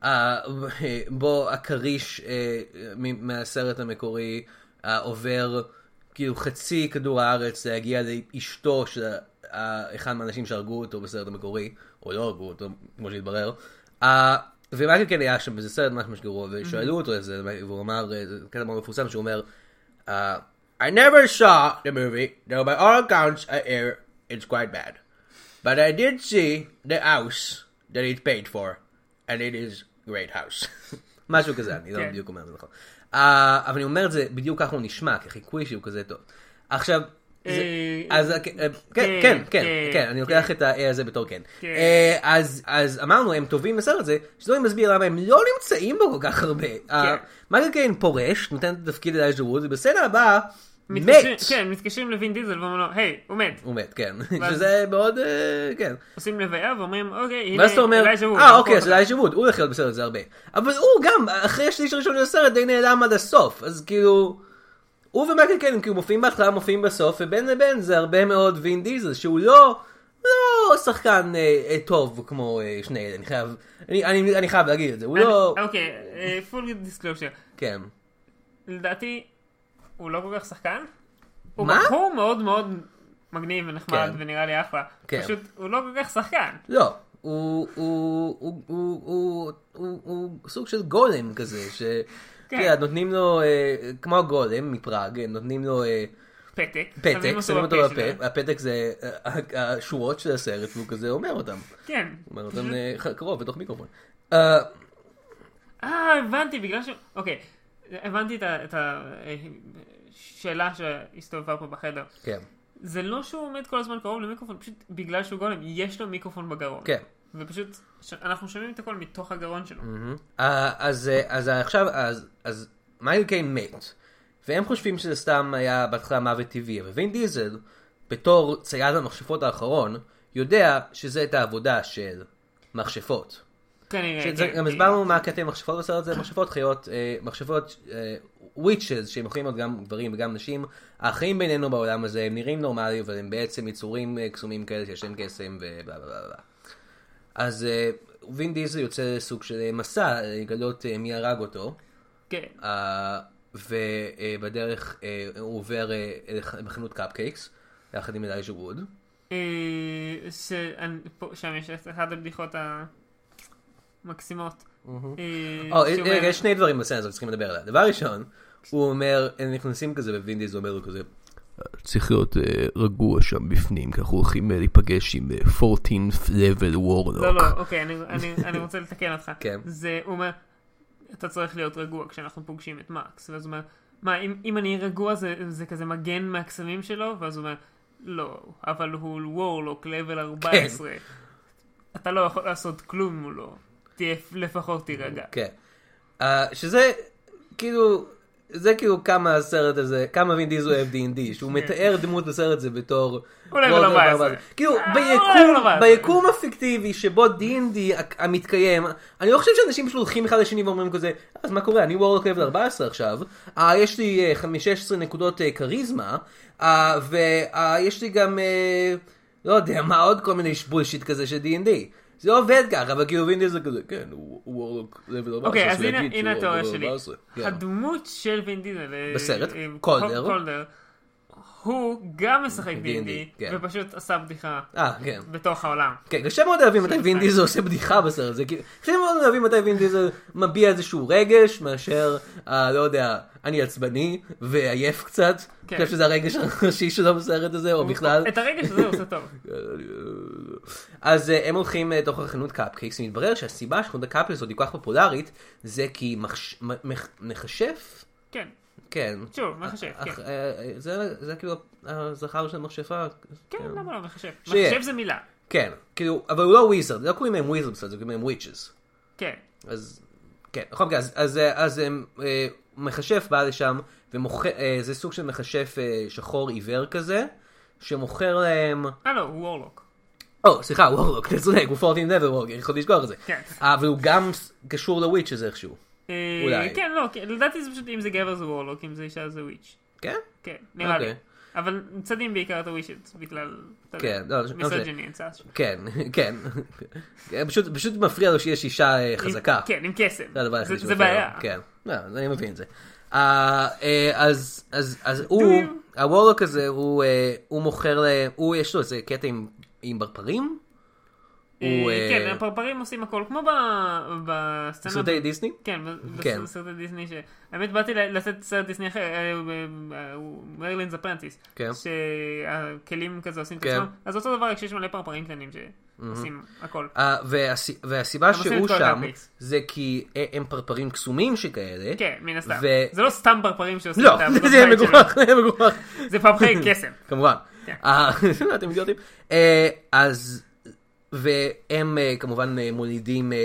[SPEAKER 1] אה, בו הכריש אה, מ- מהסרט המקורי אה, עובר כאילו חצי כדור הארץ להגיע לאשתו של אה, אחד מהאנשים שהרגו אותו בסרט המקורי, או לא הרגו אותו, כמו שהתברר. אה, ומייקל קיין היה שם, וזה סרט ממש ממש גרוע, ושאלו אותו על זה, והוא אמר, אה, זה קטע מאוד מפורסם, שהוא אומר, Uh, I never saw the movie, though by all accounts I hear it's quite bad. But I did see the house that it paid for, and it is great house. משהו כזה, אני לא
[SPEAKER 2] כן.
[SPEAKER 1] בדיוק אומר את זה נכון. Uh, אבל אני אומר את זה, בדיוק ככה הוא נשמע, כחיקוי שהוא כזה טוב. עכשיו, זה,
[SPEAKER 2] אה,
[SPEAKER 1] אז אה, כן, כן, כן, כן,
[SPEAKER 2] כן,
[SPEAKER 1] כן, אני לוקח את ה-A הזה בתור כן.
[SPEAKER 2] כן.
[SPEAKER 1] אה, אז, אז אמרנו, הם טובים בסרט הזה, שזוהי מסביר למה הם לא נמצאים בו כל כך הרבה. אה, מייקל קיין פורש, נותן את התפקיד לאייז'ה ווד, ובסצנה הבאה, מת.
[SPEAKER 2] מתקשרים- כן, מתקשרים לווין דיזל ואומרים לו, היי, הוא מת.
[SPEAKER 1] הוא מת, כן.
[SPEAKER 2] ואז-
[SPEAKER 1] שזה מאוד, אה, כן.
[SPEAKER 2] עושים לוויה ואומרים, אוקיי, הנה,
[SPEAKER 1] ואז אתה אומר,
[SPEAKER 2] אלייז'ה ווד,
[SPEAKER 1] אה
[SPEAKER 2] אנחנו
[SPEAKER 1] אוקיי, אז
[SPEAKER 2] אותו."
[SPEAKER 1] אלייז'ה ווד, הוא הולך להיות בסרט הזה הרבה. אבל הוא גם, אחרי השליש הראשון של הסרט די נעלם עד הסוף, אז כאילו... הוא ומייקל קיין כאילו מופיעים בהתחלה, מופיעים בסוף, ובין לבין זה הרבה מאוד וין דיזל, שהוא לא, לא שחקן אה, אה, טוב כמו אה, שני אלה, אני חייב, אני, אני, אני חייב להגיד את זה, הוא
[SPEAKER 2] אני-
[SPEAKER 1] לא,
[SPEAKER 2] אוקיי, פול דיסקלושר.
[SPEAKER 1] כן.
[SPEAKER 2] לדעתי, הוא לא כל כך שחקן. הוא
[SPEAKER 1] מה?
[SPEAKER 2] בחור מאוד מאוד מגניב ונחמד
[SPEAKER 1] כן.
[SPEAKER 2] ונראה לי אחלה.
[SPEAKER 1] כן.
[SPEAKER 2] פשוט הוא לא כל כך שחקן.
[SPEAKER 1] לא, הוא, הוא, הוא, הוא, הוא, הוא, הוא סוג של גולם כזה, ש...
[SPEAKER 2] כן.
[SPEAKER 1] כן. נותנים לו, אה, כמו הגולם מפראג, נותנים לו אה,
[SPEAKER 2] פתק.
[SPEAKER 1] פתק, שמים אותו
[SPEAKER 2] שלו.
[SPEAKER 1] בפה, הפתק זה אה, ה- השורות של הסרט, והוא כזה אומר אותם.
[SPEAKER 2] כן.
[SPEAKER 1] אומר אותם אה, ח- קרוב, בתוך מיקרופון. אה,
[SPEAKER 2] אה, הבנתי, בגלל ש... אוקיי. הבנתי את ה- את השאלה שהסתובבה פה בחדר.
[SPEAKER 1] כן,
[SPEAKER 2] זה לא שהוא עומד כל הזמן קרוב למיקרופון, פשוט בגלל שהוא גולם, יש לו מיקרופון בגרון.
[SPEAKER 1] כן.
[SPEAKER 2] ופשוט, ש- אנחנו שומעים את הכל מתוך הגרון שלו.
[SPEAKER 1] אה, אז אה, אז עכשיו, אז- אז מייקל קיין מת, והם חושבים שזה סתם היה בהתחלה מוות טבעי, אבל וין דיזל, בתור צייד המכשפות האחרון, יודע שזה את העבודה של מכשפות.
[SPEAKER 2] כנראה.
[SPEAKER 1] שזה-
[SPEAKER 2] כן,
[SPEAKER 1] גם
[SPEAKER 2] כי-
[SPEAKER 1] הסברנו מה הקטע עם מכשפות בסרט הזה, מכשפות חיות, אה, מכשפות וויצ'ז, שהם יכולים להיות גם גברים וגם נשים, האחרים בינינו בעולם הזה הם נראים נורמליים, אבל הם בעצם יצורים אה, קסומים כאלה שיש להם קסם ובלה בלה בלה. בלה. אז אה, וין דיזל יוצא לסוג של אה, מסע, אה, לגלות אה, מי הרג אותו, אה,
[SPEAKER 2] כן.
[SPEAKER 1] ובדרך הוא עובר אה, לח- לחנות קפקייקס, יחד עם אלייז'ה ווד.
[SPEAKER 2] Mm, אה, שאני- פה- שם יש את אחת הבדיחות המקסימות. אה,
[SPEAKER 1] או,
[SPEAKER 2] שאומר-
[SPEAKER 1] רגע, יש שני דברים בסצנה הזאת צריכים לדבר עליה. דבר ראשון, הוא אומר, הם נכנסים כזה ווין דיזל אומר לו כזה,
[SPEAKER 3] צריך להיות אה, רגוע שם בפנים, כי אנחנו הולכים אה, להיפגש עם אה, 14th level warlock.
[SPEAKER 2] לא, לא, אוקיי, אני- אני- אני רוצה לתקן אותך.
[SPEAKER 1] כן.
[SPEAKER 2] זה, הוא אומר, אתה צריך להיות רגוע כשאנחנו פוגשים את מקס. ואז הוא אומר, מה, אם אם אני רגוע זה- זה כזה מגן מהקסמים שלו? ואז הוא אומר, לא, אבל הוא וורלוק
[SPEAKER 1] כן.
[SPEAKER 2] לבל 14. אתה לא יכול לעשות כלום מולו. תהיה, לפחות תירגע.
[SPEAKER 1] כן. אה, שזה, כאילו, זה כאילו כמה הסרט הזה, כמה וין דיזל אוהב D&D, שהוא מתאר דמות בסרט הזה בתור...
[SPEAKER 2] כן. אולי
[SPEAKER 1] לא,
[SPEAKER 2] אבל
[SPEAKER 1] לא, לא,
[SPEAKER 2] 14.
[SPEAKER 1] לא, לא. כאילו,
[SPEAKER 2] אה,
[SPEAKER 1] ביקום-
[SPEAKER 2] אולי אבל
[SPEAKER 1] ביקום הפיקטיבי שבו D&D הק- המתקיים, אני לא חושב שאנשים פשוט הולכים אחד לשני ואומרים כזה, אז מה קורה, אני וורלוק לבל 14 עכשיו, אה, יש לי אה, חמש- 16 נקודות אה, כריזמה, אה, ויש לי גם, אה, לא יודע, מה עוד כל מיני בולשיט כזה של D&D. זה לא עובד ככה, אבל כאילו וין דיזל כזה, כן, הוא הוא וורלוק לבל 14.
[SPEAKER 2] אוקיי,
[SPEAKER 1] אז
[SPEAKER 2] אז
[SPEAKER 1] הוא
[SPEAKER 2] הנה-
[SPEAKER 1] יגיד
[SPEAKER 2] הנה
[SPEAKER 1] שהוא
[SPEAKER 2] התיאוריה
[SPEAKER 1] עבור
[SPEAKER 2] שלי.
[SPEAKER 1] 14. כן.
[SPEAKER 2] הדמות של וין דיזל. אה,
[SPEAKER 1] בסרט,
[SPEAKER 2] אה,
[SPEAKER 1] קולדר.
[SPEAKER 2] קולדר. הוא גם משחק
[SPEAKER 1] D&D,
[SPEAKER 2] D&D,
[SPEAKER 1] כן.
[SPEAKER 2] ופשוט עשה בדיחה
[SPEAKER 1] אה, כן.
[SPEAKER 2] בתוך העולם.
[SPEAKER 1] כן, קשה מאוד להבין מתי וין דיזל עושה בדיחה בסרט הזה, כאילו, קשה מאוד להבין מתי וין דיזל מביע איזשהו רגש, מאשר, אה, לא יודע, אני עצבני ועייף קצת, אני חושב שזה הרגש הראשי שלו בסרט הזה, או בכלל.
[SPEAKER 2] את הרגע שזה הוא עושה טוב.
[SPEAKER 1] אז אה, הם הולכים אה, לתוך החנות קפקיקס, ומתברר שהסיבה שחנות הקפקיקס הזאת היא כל כך פופולרית, זה כי מחש- מ- מח- מכשף,
[SPEAKER 2] כן.
[SPEAKER 1] כן.
[SPEAKER 2] שוב, מכשף,
[SPEAKER 1] אך-
[SPEAKER 2] כן.
[SPEAKER 1] אה, אה, זה זה כאילו הזכר של מכשפה.
[SPEAKER 2] כן, למה לא מחשב?
[SPEAKER 1] שיהיה.
[SPEAKER 2] מחשב זה מילה.
[SPEAKER 1] כן, כאילו, אבל הוא לא וויזרד, לא קוראים להם וויזרד בסדר, קוראים להם וויצ'ס.
[SPEAKER 2] כן.
[SPEAKER 1] אז, כן, בכל מקרה, אז, אז, אה, אז הם, אה, מכשף בא לשם, ומוכר, אה, זה סוג של מכשף אה, שחור עיוור כזה, שמוכר להם,
[SPEAKER 2] אה לא, הוא וורלוק.
[SPEAKER 1] או, סליחה, וורלוק, אתה צודק, הוא פורטין לבל וורלוק, יכולתי לשכוח את זה.
[SPEAKER 2] כן.
[SPEAKER 1] אה, אבל הוא גם ס- קשור לוויצ'ס איכשהו.
[SPEAKER 2] אה,
[SPEAKER 1] אולי.
[SPEAKER 2] כן, לא, כן, לדעתי זה פשוט אם זה גבר זה וורלוק, אם זה אישה זה וויץ'.
[SPEAKER 1] כן?
[SPEAKER 2] כן, נראה לי.
[SPEAKER 1] אוקיי.
[SPEAKER 2] אבל צדים בעיקר את הווישט, בגלל...
[SPEAKER 1] כן, לא, לא זה.
[SPEAKER 2] מיסוג'ני יצא שם.
[SPEAKER 1] כן, כן. פשוט, פשוט מפריע לו שיש אישה אה, חזקה.
[SPEAKER 2] עם- כן, עם קסם.
[SPEAKER 1] זה הדבר היחיד
[SPEAKER 2] זה- זה
[SPEAKER 1] שמפריע לו.
[SPEAKER 2] בעיה.
[SPEAKER 1] כן, לא, אז אני מבין את זה. אה, אה, אז, אז, אז הוא,
[SPEAKER 2] דויים.
[SPEAKER 1] הוורלוק הזה, הוא, אה, הוא מוכר, ל- הוא, יש לו איזה קטע עם, עם ברפרים? הוא,
[SPEAKER 2] אה,
[SPEAKER 1] אה,
[SPEAKER 2] כן, הפרפרים עושים הכל, כמו ב- בסצנה...
[SPEAKER 1] סרטי דיסני?
[SPEAKER 2] כן,
[SPEAKER 1] כן.
[SPEAKER 2] בסרטי דיסני, ש... האמת באתי ל- לתת סרט דיסני אחר, אה, אה, הוא- מרלינ's הפרנטיס,
[SPEAKER 1] כן.
[SPEAKER 2] שהכלים כזה עושים את
[SPEAKER 1] כן.
[SPEAKER 2] עצמם, אז אותו דבר רק שיש מלא פרפרים קטנים שעושים הכל.
[SPEAKER 1] אה, והס- והסיבה
[SPEAKER 2] עושים את
[SPEAKER 1] שהוא
[SPEAKER 2] כל
[SPEAKER 1] שם,
[SPEAKER 2] הקרפיס.
[SPEAKER 1] זה כי אה, הם פרפרים קסומים שכאלה.
[SPEAKER 2] כן, מן הסתם.
[SPEAKER 1] ו-
[SPEAKER 2] זה לא סתם פרפרים שעושים
[SPEAKER 1] לא,
[SPEAKER 2] את העבודות
[SPEAKER 1] זה
[SPEAKER 2] בית שלהם.
[SPEAKER 1] מגוחך, זה מגוחך.
[SPEAKER 2] זה פרפרי קסם.
[SPEAKER 1] כמובן.
[SPEAKER 2] כן.
[SPEAKER 1] אה, אתם אידיוטים. אה, אז, והם אה, כמובן אה, מולידים אה,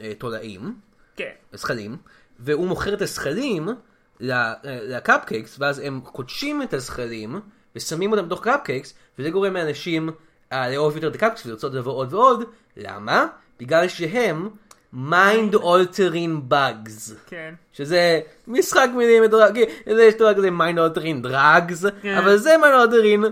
[SPEAKER 1] אה, תולעים,
[SPEAKER 2] כן.
[SPEAKER 1] זכלים, והוא מוכר את הזכלים ל- אה, לקפקייקס, ואז הם קודשים את הזכלים, ושמים אותם בתוך קפקייקס, וזה גורם לאנשים אה, לאהוב יותר את הקפקייקס ולרצות לבוא עוד ועוד. למה? בגלל שהם mind altering bugs.
[SPEAKER 2] כן.
[SPEAKER 1] שזה משחק מילים מדורג, זה יש דבר כזה מיינד אולטרין דרגס,
[SPEAKER 2] כן.
[SPEAKER 1] אבל זה מיינד אולטרין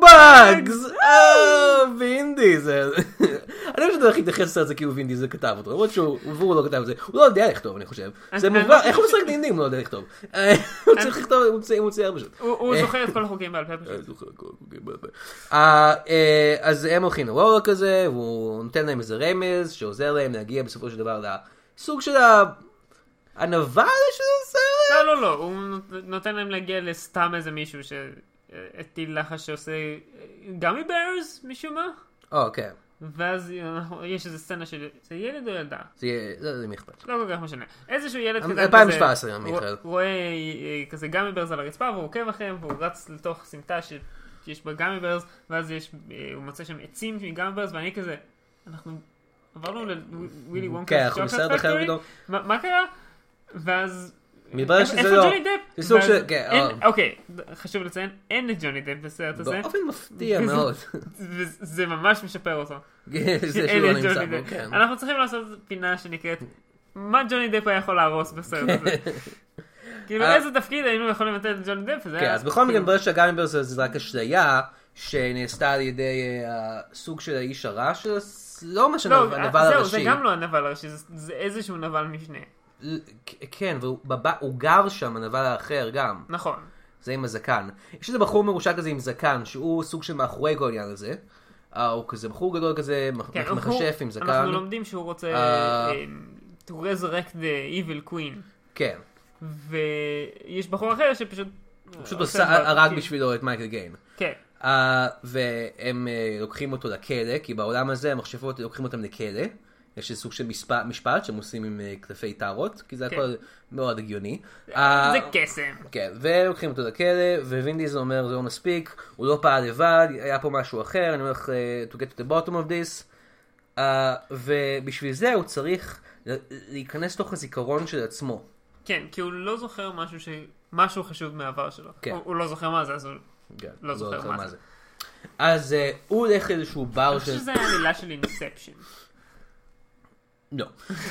[SPEAKER 1] באגס, אה, וין דיזל. אני חושב שזה הכי להתייחס לזה כאילו וין דיזל כתב אותו, למרות שהוא והוא לא כתב את זה, הוא לא יודע לכתוב אני חושב, זה
[SPEAKER 2] אני
[SPEAKER 1] מובן,
[SPEAKER 2] חושב
[SPEAKER 1] איך הוא
[SPEAKER 2] ש-
[SPEAKER 1] משחק דינדים אם הוא לא יודע לכתוב, אה, הוא צריך לכתוב, הוא צי- הוא צייר פשוט.
[SPEAKER 2] הוא- הוא זוכר את כל החוקים בעל פה
[SPEAKER 3] אני
[SPEAKER 2] פשוט.
[SPEAKER 3] זוכר הכל, אוקיי, ביי ביי.
[SPEAKER 1] אה, אה, אז הם הולכים לוורלו כזה, והוא נותן להם איזה רמז שעוזר להם להגיע בסופו של דבר לסוג של הענווה של הסרט.
[SPEAKER 2] לא, לא, לא, הוא נות- נותן להם להגיע לסתם איזה מישהו שהטיל לחש שעושה גמי ברז משום מה,
[SPEAKER 1] או, כן.
[SPEAKER 2] ואז אנחנו- יש איזה סצנה של... זה ילד או ילדה?
[SPEAKER 1] זה יהיה, לא יודע מי אכפת.
[SPEAKER 2] לא כל כך משנה. איזשהו ילד
[SPEAKER 1] אמ-
[SPEAKER 2] קטן כזה...
[SPEAKER 1] 2017, מיכאל.
[SPEAKER 2] הוא רואה אה, כזה גמי ברז על הרצפה והוא עוקב אחריהם והוא רץ לתוך סמטה ש- שיש בה גמי ברז, ואז יש, אה, הוא מוצא שם עצים מגמי ברז, ואני כזה, אנחנו עברנו לווילי וונקה.
[SPEAKER 1] כן, אנחנו בסרט אחר פתאום.
[SPEAKER 2] מה מה קרה? ואז...
[SPEAKER 1] מתברר שזה
[SPEAKER 2] איפה
[SPEAKER 1] לא-
[SPEAKER 2] ג'וני דפ?
[SPEAKER 1] זה סוג
[SPEAKER 2] ואז
[SPEAKER 1] של- כן, לא,
[SPEAKER 2] אין-
[SPEAKER 1] אה.
[SPEAKER 2] אוקיי, חשוב לציין, אין לג'וני דפ בסרט הזה,
[SPEAKER 1] באופן מפתיע מאוד.
[SPEAKER 2] וזה ממש משפר אותו.
[SPEAKER 1] זה שהוא
[SPEAKER 2] אלה
[SPEAKER 1] לא
[SPEAKER 2] ג'וני
[SPEAKER 1] נמצא
[SPEAKER 2] דפ.
[SPEAKER 1] פה, כן.
[SPEAKER 2] אנחנו צריכים לעשות פינה שנקראת מה ג'וני דפ היה יכול להרוס בסרט הזה. כאילו
[SPEAKER 1] אה.
[SPEAKER 2] איזה תפקיד היינו יכולים לתת לג'וני דפ, זה
[SPEAKER 1] כן,
[SPEAKER 2] היה...
[SPEAKER 1] אז בכל מקרה,
[SPEAKER 2] כאילו,
[SPEAKER 1] מתברר שהגיימברס זה רק אשליה שנעשתה על ידי אה, הסוג של האיש הרע של... הס- לא משנה,
[SPEAKER 2] לא,
[SPEAKER 1] הנבל
[SPEAKER 2] אה, זהו, זה
[SPEAKER 1] הראשי.
[SPEAKER 2] גם לא הנבל הראשי, זה- זה איזשהו נבל משנה.
[SPEAKER 1] ל- כ- כן, והוא בב- הוא גר שם, הנבל האחר גם.
[SPEAKER 2] נכון.
[SPEAKER 1] זה עם הזקן. יש איזה בחור מרושע כזה עם זקן, שהוא סוג של מאחורי כל העניין הזה. אה, הוא כזה בחור גדול כזה, מח-
[SPEAKER 2] כן,
[SPEAKER 1] מכ- מכשף עם זקן.
[SPEAKER 2] אנחנו לא- לומדים שהוא רוצה
[SPEAKER 1] אה.
[SPEAKER 2] אה, to resurrect the evil queen.
[SPEAKER 1] כן.
[SPEAKER 2] ויש בחור אחר שפשוט...
[SPEAKER 1] הוא פשוט
[SPEAKER 2] עושה דבר,
[SPEAKER 1] עשה- הרג
[SPEAKER 2] כאילו,
[SPEAKER 1] בשבילו את מייקל גיין.
[SPEAKER 2] כן.
[SPEAKER 1] Uh, והם uh, לוקחים אותו לכלא, כי בעולם הזה המכשפות לוקחים אותם לכלא. יש איזה סוג של משפט, משפט שהם עושים עם uh, כתפי טהרות, כי זה
[SPEAKER 2] כן.
[SPEAKER 1] הכל מאוד הגיוני.
[SPEAKER 2] זה
[SPEAKER 1] אה,
[SPEAKER 2] קסם.
[SPEAKER 1] כן, ולוקחים אותו לכלא, ווין דיזל אומר זה לא מספיק, הוא לא פעל לבד, היה פה משהו אחר, אני הולך אה, to get to the bottom of this. Uh, ובשביל זה הוא צריך ל- להיכנס לתוך הזיכרון של עצמו.
[SPEAKER 2] כן, כי הוא לא זוכר משהו ש... משהו חשוב מהעבר שלו.
[SPEAKER 1] כן.
[SPEAKER 2] הוא, הוא לא זוכר מה זה, אז הוא...
[SPEAKER 1] כן,
[SPEAKER 2] לא זוכר מה זה.
[SPEAKER 1] אז אה, הוא הולך לאיזשהו בר
[SPEAKER 2] אני חושב שזה היה עלילה של אינספשן.
[SPEAKER 1] לא.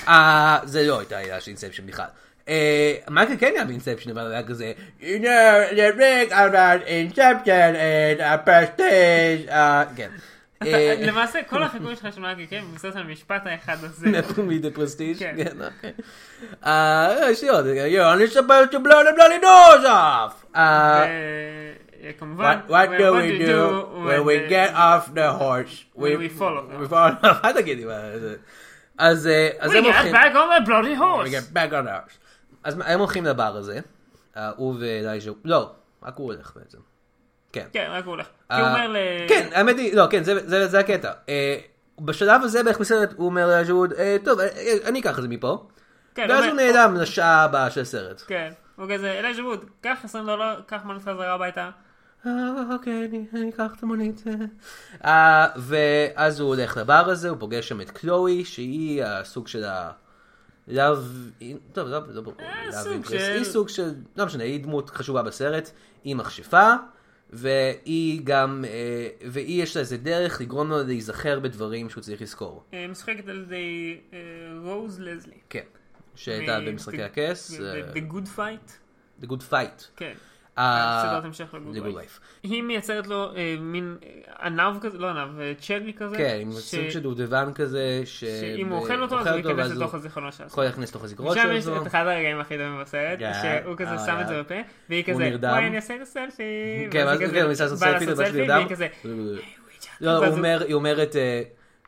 [SPEAKER 1] אה, זה לא הייתה עילה של אינספשן בכלל. אה, מייקל כן היה באינספשן, אבל היה כזה, you know, the rig about inception and a prestige, אה, כן. אה,
[SPEAKER 2] למעשה, כל החיקוי שלך של מייקל קיין מבוסס על המשפט האחד הזה.
[SPEAKER 1] נתנו לי דה פרסטיג'?
[SPEAKER 2] כן.
[SPEAKER 1] כן, אוקיי. אה, יש לי עוד, you're only supposed to blow the bloody doors off! אה,
[SPEAKER 2] אה, כמובן,
[SPEAKER 1] What, what
[SPEAKER 2] well,
[SPEAKER 1] do we do when we
[SPEAKER 2] uh,
[SPEAKER 1] get off the horse?
[SPEAKER 2] when we fall off the
[SPEAKER 1] We fall off. אל תגידי מה זה. אז אה, אז
[SPEAKER 2] We
[SPEAKER 1] הם
[SPEAKER 2] get
[SPEAKER 1] הולכים... כן,
[SPEAKER 2] back on the bloody
[SPEAKER 1] We
[SPEAKER 2] horse.
[SPEAKER 1] get back on the horse. אז מה, הם הולכים לבר הזה. אה, הוא ואלייז'ה... לא, רק הוא הולך בעצם. כן.
[SPEAKER 2] כן, רק הוא הולך. כי
[SPEAKER 1] אה,
[SPEAKER 2] הוא אומר ל...
[SPEAKER 1] כן, האמת היא, לא, כן, זה- זה זה הקטע. אה, בשלב הזה בערך בסרט הוא אומר לאלייז'ה ווד, אה, טוב, אה, אה, אני אקח את זה מפה.
[SPEAKER 2] כן,
[SPEAKER 1] ואז
[SPEAKER 2] אומר-
[SPEAKER 1] הוא נעלם לשעה הבאה של הסרט.
[SPEAKER 2] כן, הוא כזה, אלי ז'בוד, קח 20 דולר, קח מנות חזרה הביתה.
[SPEAKER 1] "אה, אוקיי, אני- אני אקח את המונית. אה, ואז הוא הולך לבר הזה, הוא פוגש שם את קלואי, שהיא הסוג של ה... לאו... טוב, לא לא ברור.
[SPEAKER 2] אה,
[SPEAKER 1] love
[SPEAKER 2] סוג
[SPEAKER 1] interest.
[SPEAKER 2] של-
[SPEAKER 1] היא סוג של... לא משנה, היא דמות חשובה בסרט, היא מכשפה, והיא גם... אה, והיא יש לה איזה דרך לגרום לו להיזכר בדברים שהוא צריך לזכור.
[SPEAKER 2] אה, משחקת על ידי אה, רוז לזלי.
[SPEAKER 1] כן. שהייתה
[SPEAKER 2] מ-
[SPEAKER 1] במשחקי
[SPEAKER 2] The-
[SPEAKER 1] הכס,
[SPEAKER 2] The
[SPEAKER 1] אה,
[SPEAKER 2] The Good Fight.
[SPEAKER 1] The Good Fight.
[SPEAKER 2] כן.
[SPEAKER 1] אה,
[SPEAKER 2] סדרת המשך לגוד
[SPEAKER 1] לגוד
[SPEAKER 2] וייף.
[SPEAKER 1] וייף.
[SPEAKER 2] היא מייצרת לו אה, מין אה, ענב כזה, לא ענב, אה, צ'רי כזה.
[SPEAKER 1] כן, עם
[SPEAKER 2] ש-
[SPEAKER 1] סוג של אה, דובדבן כזה, ש...
[SPEAKER 2] שאם הוא אוכל אותו, אז הוא ייכנס
[SPEAKER 1] ואז
[SPEAKER 2] לתוך הזיכרונות שלו.
[SPEAKER 1] יכול להכניס לתוך הזיכרון
[SPEAKER 2] שם יש
[SPEAKER 1] שלו.
[SPEAKER 2] את אחד הרגעים הכי טובים בסרט,
[SPEAKER 1] Yeah.
[SPEAKER 2] שהוא כזה
[SPEAKER 1] Oh,
[SPEAKER 2] שם את
[SPEAKER 1] yeah.
[SPEAKER 2] זה בפה, והיא
[SPEAKER 1] הוא
[SPEAKER 2] כזה,
[SPEAKER 1] נרדם.
[SPEAKER 2] וואי אני אעשה את הסלפי.
[SPEAKER 1] כן,
[SPEAKER 2] ואז
[SPEAKER 1] ואז
[SPEAKER 2] היא
[SPEAKER 1] כן,
[SPEAKER 2] כזה
[SPEAKER 1] הוא ניסה לעשות
[SPEAKER 2] בא
[SPEAKER 1] סלפי, ובת שלי
[SPEAKER 2] והיא
[SPEAKER 1] נרדם.
[SPEAKER 2] כזה, "אה,
[SPEAKER 1] לא, הוא
[SPEAKER 2] ואז הוא-
[SPEAKER 1] אומר, היא אומרת, אה,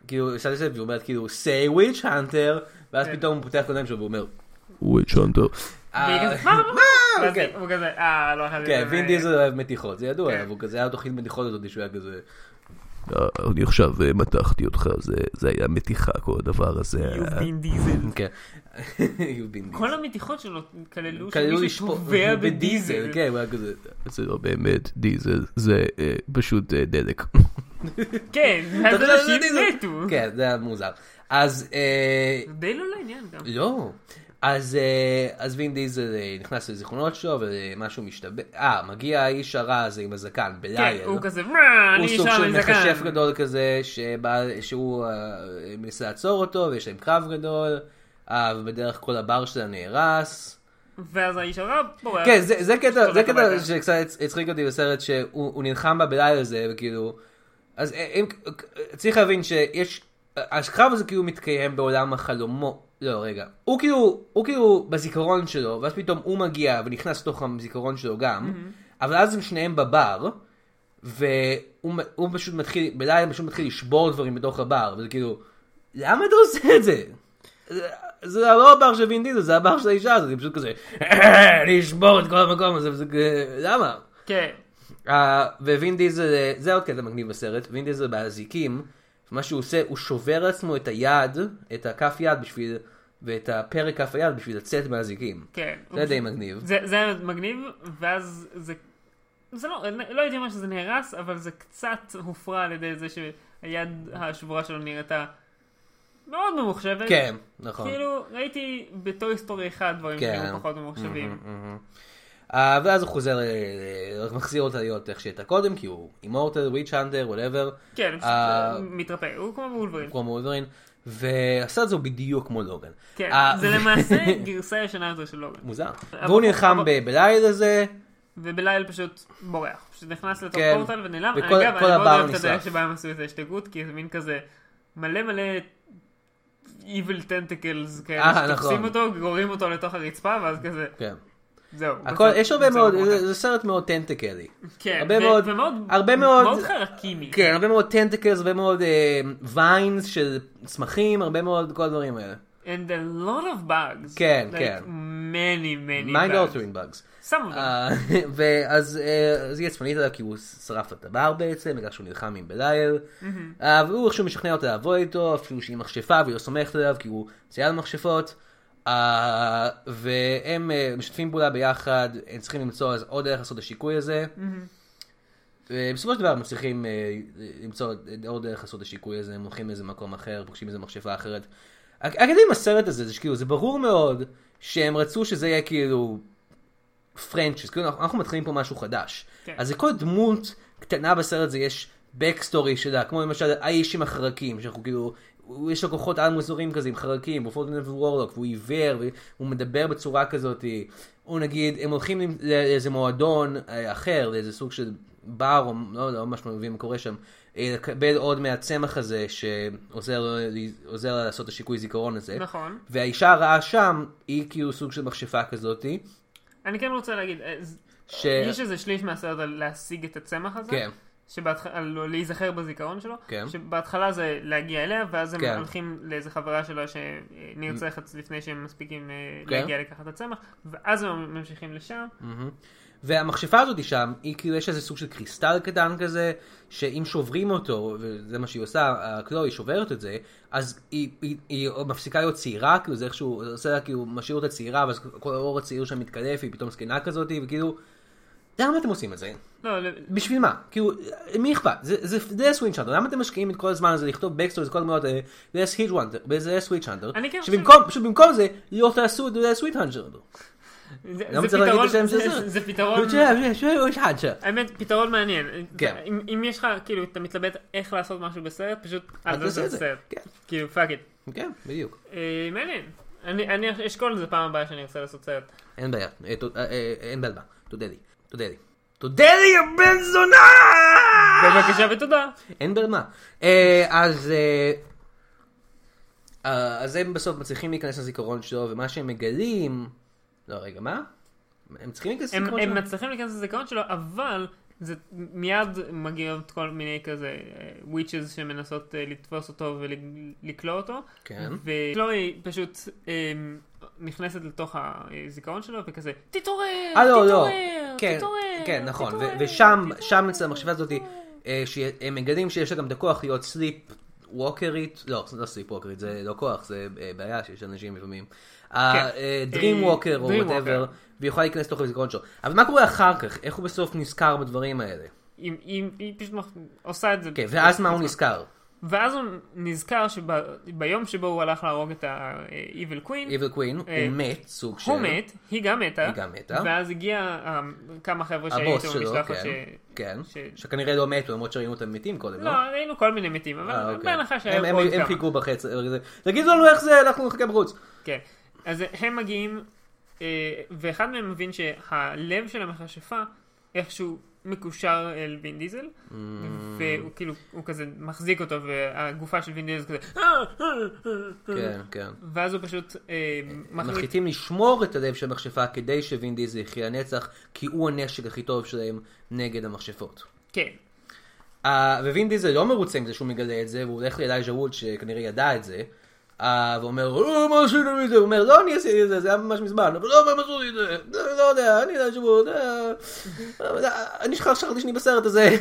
[SPEAKER 1] כאילו, היא עושה את זה, והיא אומרת, כאילו, say which hunter, ואז
[SPEAKER 2] כן.
[SPEAKER 1] פתאום הוא פותח את העיניים שלו ואומר,
[SPEAKER 3] וויץ' הנטר.
[SPEAKER 2] והיא
[SPEAKER 1] אה,
[SPEAKER 2] כזה, מה? ואז
[SPEAKER 1] כן.
[SPEAKER 2] הוא כזה, אה, לא אכלתי
[SPEAKER 1] כן,
[SPEAKER 2] את זה."
[SPEAKER 1] וין דיזל אוהב מתיחות, זה ידוע,
[SPEAKER 2] כן.
[SPEAKER 1] אבל הוא כזה היה תוכנית מתיחות הזאת שהוא היה כזה,
[SPEAKER 3] אני עכשיו אה, מתחתי אותך, זה- זה היה מתיחה כל הדבר הזה.
[SPEAKER 2] "You Vin Diesel."
[SPEAKER 1] כן, הוא וין דיזל.
[SPEAKER 2] כל המתיחות שלו כללו
[SPEAKER 1] כאילו
[SPEAKER 2] שמישהו
[SPEAKER 1] לשפוך-
[SPEAKER 2] טובע בדיזל.
[SPEAKER 1] כן, הוא היה כזה,
[SPEAKER 3] זה לא באמת דיזל, זה אה, פשוט אה, דלק.
[SPEAKER 2] כן, ואז
[SPEAKER 1] "אתה לא חושב שזה
[SPEAKER 2] אנשים
[SPEAKER 1] דיזל?"
[SPEAKER 2] מתו.
[SPEAKER 1] כן, זה היה מוזר. אז, אה,
[SPEAKER 2] זה די לא לעניין גם.
[SPEAKER 1] לא. אז, אה, אז וין דיזל אה, נכנס לזיכרונות שלו ומשהו משתבח, אה, מגיע האיש הרע הזה עם הזקן,
[SPEAKER 2] כן,
[SPEAKER 1] בלייר.
[SPEAKER 2] הוא כזה, "מה, אני
[SPEAKER 1] הוא סוג
[SPEAKER 2] נשאר
[SPEAKER 1] של
[SPEAKER 2] עם זקן."
[SPEAKER 1] מכשף גדול כזה, שבא, שהוא אה, מנסה לעצור אותו, ויש להם קרב גדול, אה, ובדרך כל הבר שלה נהרס.
[SPEAKER 2] ואז האיש הרע בורח.
[SPEAKER 1] כן, זה, זה קטע, זה
[SPEAKER 2] הולך
[SPEAKER 1] קטע
[SPEAKER 2] הביתה.
[SPEAKER 1] שקצת הצ- הצחיק אותי בסרט, שהוא הוא נלחם בה בלילה הזה, וכאילו... אז אה, אם, צריך להבין שיש... הקרב הזה כאילו מתקיים בעולם החלומו... לא, רגע. הוא כאילו, הוא כאילו בזיכרון שלו, ואז פתאום הוא מגיע ונכנס לתוך הזיכרון שלו גם, אבל אז הם שניהם בבר, והוא מ- הוא פשוט מתחיל, בלילה פשוט מתחיל לשבור דברים בתוך הבר, וזה כאילו, למה אתה עושה את זה? זה- זה לא הבר של וין דיזל, זה הבר של האישה הזאת, היא פשוט כזה, אני אשבור את כל המקום הזה, וזה כזה, למה?
[SPEAKER 2] כן.
[SPEAKER 1] אה, ווין דיזל, אה, זה עוד קטע מגניב בסרט, וין דיזל באזיקים, מה שהוא עושה, הוא שובר לעצמו את היד, את הכף יד בשביל, ואת הפרק כף היד בשביל לצאת מהאזיקים.
[SPEAKER 2] כן.
[SPEAKER 1] זה די מגניב.
[SPEAKER 2] זה, זה היה מגניב, ואז זה... זה לא, לא יודעים מה שזה נהרס, אבל זה קצת הופרע על ידי זה שהיד השבורה שלו נראתה מאוד ממוחשבת.
[SPEAKER 1] כן, נכון.
[SPEAKER 2] כאילו, ראיתי בטוי סטורי 1 דברים
[SPEAKER 1] כן. Mm-hmm,
[SPEAKER 2] שהיו פחות ממוחשבים.
[SPEAKER 1] אה, ואז הוא חוזר, אה, אה, מחזיר אותה להיות איך שהייתה קודם, כי הוא אימורטל, וויץ' האנטר, וואטאבר.
[SPEAKER 2] כן, הוא פשוט
[SPEAKER 1] אה. נכון.
[SPEAKER 2] מתרפא, הוא כמו בולברין.
[SPEAKER 1] כמו מולברין, והסרט הזה הוא בדיוק כמו לוגן.
[SPEAKER 2] כן,
[SPEAKER 1] אה,
[SPEAKER 2] זה למעשה גרסה ישנה יותר של לוגן.
[SPEAKER 1] מוזר. והוא נלחם
[SPEAKER 2] אבל-
[SPEAKER 1] בלילה הזה,
[SPEAKER 2] ובלילה פשוט בורח. פשוט נכנס לתוך
[SPEAKER 1] כן.
[SPEAKER 2] פורטל ונעלם.
[SPEAKER 1] וכל-
[SPEAKER 2] אגב,
[SPEAKER 1] כל
[SPEAKER 2] אני מאוד
[SPEAKER 1] הבר
[SPEAKER 2] אוהב את הדרך
[SPEAKER 1] נשרף.
[SPEAKER 2] שבה הם עשו את ההשתגעות, כי זה מין כזה מלא מלא evil tentacles
[SPEAKER 1] אה,
[SPEAKER 2] כאלה, שתופסים
[SPEAKER 1] נכון.
[SPEAKER 2] אותו, גוררים אותו לתוך הרצפה, ואז כזה,
[SPEAKER 1] כן.
[SPEAKER 2] זהו.
[SPEAKER 1] הכל,
[SPEAKER 2] בסדר,
[SPEAKER 1] יש הרבה
[SPEAKER 2] בסדר,
[SPEAKER 1] מאוד,
[SPEAKER 2] בסדר.
[SPEAKER 1] זה- זה סרט מאוד טנטקלי.
[SPEAKER 2] כן,
[SPEAKER 1] הרבה
[SPEAKER 2] ו-
[SPEAKER 1] מאוד-
[SPEAKER 2] ומאוד,
[SPEAKER 1] הרבה מאוד-
[SPEAKER 2] מאוד חרקימי.
[SPEAKER 1] כן, הרבה מאוד טנטקלס, הרבה מאוד ויינס של צמחים, הרבה מאוד כל הדברים האלה.
[SPEAKER 2] And a lot of bugs.
[SPEAKER 1] כן,
[SPEAKER 2] like,
[SPEAKER 1] כן.
[SPEAKER 2] many, many
[SPEAKER 1] מיינד
[SPEAKER 2] bugs.
[SPEAKER 1] אלטרין bugs.
[SPEAKER 2] Some of them.
[SPEAKER 1] אה, ואז אה, אז היא עצבנית עליו כי הוא שרף את הבר בעצם, בגלל שהוא נלחם עם בלייל. אה, והוא איכשהו משכנע אותה לבוא איתו, אפילו שהיא מכשפה והיא לא סומכת עליו כי הוא צייד מכשפות. אה, והם אה, משתפים פעולה ביחד, הם צריכים למצוא אז עוד דרך לעשות את השיקוי הזה. ובסופו של דבר הם מצליחים אה, למצוא עוד דרך לעשות את השיקוי הזה, הם הולכים לאיזה מקום אחר, פוגשים איזה מכשפה אחרת. הק- הקטע עם הסרט הזה, זה שכאילו, זה ברור מאוד שהם רצו שזה יהיה כאילו פרנצ'ס, כאילו אנחנו, אנחנו מתחילים פה משהו חדש.
[SPEAKER 2] כן.
[SPEAKER 1] אז לכל דמות קטנה בסרט זה יש backstory שלה, כמו למשל האיש עם החרקים, שאנחנו כאילו, הוא- יש לו כוחות על מוזרים כזה עם חרקים, הוא פורטנד וורלוק, והוא עיוור, והוא מדבר בצורה כזאת, או נגיד, הם הולכים למ- לא- לאיזה מועדון אה, אחר, לאיזה סוג של בר, או לא יודע, לא ממש מבין מה קורה שם, אה, לקבל עוד מהצמח הזה שעוזר לו ל- עוזר לה לעשות את השיקוי זיכרון הזה.
[SPEAKER 2] נכון.
[SPEAKER 1] והאישה הרעה שם, היא כאילו סוג של מכשפה כזאתי.
[SPEAKER 2] אני כן רוצה להגיד, אה, ז-
[SPEAKER 1] ש...
[SPEAKER 2] יש איזה שליש מהסרט על להשיג את הצמח הזה.
[SPEAKER 1] כן.
[SPEAKER 2] שבהתחלה, להיזכר בזיכרון שלו,
[SPEAKER 1] כן.
[SPEAKER 2] שבהתחלה זה להגיע אליה, ואז הם
[SPEAKER 1] כן.
[SPEAKER 2] הולכים לאיזה חברה שלו שנרצחת לפני שהם מספיקים אה,
[SPEAKER 1] כן. Mm.
[SPEAKER 2] להגיע לקחת הצמח, ואז הם ממשיכים לשם.
[SPEAKER 1] והמכשפה הזאת שם, היא כאילו יש איזה סוג של קריסטל קטן כזה, שאם שוברים אותו, וזה מה שהיא עושה, הקלוי שוברת את זה, אז היא, היא, היא מפסיקה להיות צעירה, כאילו זה איכשהו, זה עושה לה כאילו, משאיר אותה צעירה, ואז כל האור הצעיר שם מתקלף, היא פתאום זקנה כזאת, וכאילו, למה אתם עושים את זה?
[SPEAKER 2] לא, ל-
[SPEAKER 1] בשביל מה? כאילו, מי אכפת? זה- זה די סוויץ' האנטר, למה אתם משקיעים את כל הזמן הזה לכתוב בקסטורי, כל הדמויות האלה, זה סוויץ' האנטר, זה סוויץ' האנטר,
[SPEAKER 2] אני כן חושב-
[SPEAKER 1] שבמקום זה, לא תעשו את זה סוויץ' האנטר.
[SPEAKER 2] זה-
[SPEAKER 1] למה
[SPEAKER 2] זה
[SPEAKER 1] צריך לא להגיד את
[SPEAKER 2] פתרון-
[SPEAKER 1] השם של
[SPEAKER 2] זה-
[SPEAKER 1] זה?
[SPEAKER 2] זה פתרון, האמת, פתרון מעניין.
[SPEAKER 1] כן.
[SPEAKER 2] אם- אם יש לך, כאילו, אתה מתלבט איך לעשות משהו בסרט, פשוט
[SPEAKER 1] אל
[SPEAKER 2] אל
[SPEAKER 1] תעשה
[SPEAKER 2] תעשה
[SPEAKER 1] את זה.
[SPEAKER 2] סרט.
[SPEAKER 1] כן.
[SPEAKER 2] כאילו, פאק איט.
[SPEAKER 1] כן, בדיוק.
[SPEAKER 2] מעניין. אני אני אשקול את זה פעם הבאה שאני ארצה לעשות סרט.
[SPEAKER 1] אין בעיה, אה, ת- אה, אה, אין בעיה, תודה לי. תודה לי. תודה לי, יא בן זונה!
[SPEAKER 2] בבקשה ותודה.
[SPEAKER 1] אין במה. אה, אז אה, אה, אז הם בסוף מצליחים להיכנס לזיכרון שלו, ומה שהם מגלים... לא, רגע, מה? הם צריכים להיכנס
[SPEAKER 2] הם,
[SPEAKER 1] לזיכרון
[SPEAKER 2] הם
[SPEAKER 1] שלו?
[SPEAKER 2] מצליחים להיכנס לזיכרון שלו, אבל זה מיד מגיעות כל מיני כזה וויצ'ז שמנסות אה, לתפוס אותו ולכלוא אותו.
[SPEAKER 1] כן.
[SPEAKER 2] וקלואי פשוט אה, נכנסת לתוך הזיכרון שלו וכזה, תתעורר,
[SPEAKER 1] אה, לא, לא.
[SPEAKER 2] תתעורר,
[SPEAKER 1] כן,
[SPEAKER 2] תתעורר,
[SPEAKER 1] כן, נכון. ו-
[SPEAKER 2] תתעורר,
[SPEAKER 1] ושם,
[SPEAKER 2] תתעורר."
[SPEAKER 1] שם אצל המחשבה הזאת, אה, שהם מגלים שיש לה גם את הכוח להיות סליפ ווקרית, לא, זה לא סליפ ווקרית, זה לא כוח, זה אה, בעיה שיש אנשים לפעמים. דרים ווקר או
[SPEAKER 2] כן. אה, Dream
[SPEAKER 1] וואטאבר,
[SPEAKER 2] Walker.
[SPEAKER 1] והיא יכולה להיכנס לתוך הזיכרון שלו. אבל מה קורה אחר כך? איך הוא בסוף נזכר בדברים האלה?
[SPEAKER 2] היא, היא, היא פשוט מח- עושה את זה.
[SPEAKER 1] כן, ואז מה הוא נזכר?
[SPEAKER 2] ואז הוא נזכר שביום שבו הוא הלך להרוג את ה-Evil Queen,
[SPEAKER 1] איבל קווין,
[SPEAKER 2] אה,
[SPEAKER 1] הוא מת, סוג של...
[SPEAKER 2] הוא מת, היא גם מתה,
[SPEAKER 1] היא גם מתה.
[SPEAKER 2] ואז הגיע אה, כמה חבר'ה שהיו
[SPEAKER 1] הבוס
[SPEAKER 2] איתו
[SPEAKER 1] שלו,
[SPEAKER 2] במשלחת ש...
[SPEAKER 1] כן. כן.
[SPEAKER 2] ש-
[SPEAKER 1] שכנראה לא מתו, למרות שראינו אותם מתים קודם,
[SPEAKER 2] לא, ראינו כל מיני מתים,
[SPEAKER 1] אה,
[SPEAKER 2] אבל
[SPEAKER 1] אוקיי.
[SPEAKER 2] בהנחה
[SPEAKER 1] הם-
[SPEAKER 2] שהיו
[SPEAKER 1] הם-
[SPEAKER 2] עוד
[SPEAKER 1] הם
[SPEAKER 2] כמה.
[SPEAKER 1] חיכו בחץ, אה, זה- תגידו לנו איך זה, אנחנו נחכה בחוץ.
[SPEAKER 2] כן. אז הם מגיעים, אה, ואחד מהם מבין שהלב של המכשפה איכשהו מקושר אל וין דיזל,
[SPEAKER 1] Mm.
[SPEAKER 2] והוא כאילו, הוא כזה מחזיק אותו, והגופה של וין דיזל כזה, "אה, אה, אה, אה."
[SPEAKER 1] כן, כן.
[SPEAKER 2] ואז הוא פשוט אה, מחליט,
[SPEAKER 1] מחליטים לשמור את הלב של המכשפה כדי שווין דיזל יחיה לנצח, כי הוא הנשק הכי טוב שלהם נגד המכשפות.
[SPEAKER 2] כן,
[SPEAKER 1] Uh, ווין דיזל לא מרוצה עם זה שהוא מגלה את זה, והוא הולך לאלייג'ה ווד שכנראה ידע את זה, uh, ואומר, "אה, מה עשיתם עם זה? הוא אומר, לא אני עשיתי את זה, זה היה ממש מזמן, אבל לא, מה הם עשו לי את זה? לא, לא יודע, אני אלייג'ה ווד, אה, אה, אני שכח- שכחתי שאני בסרט הזה.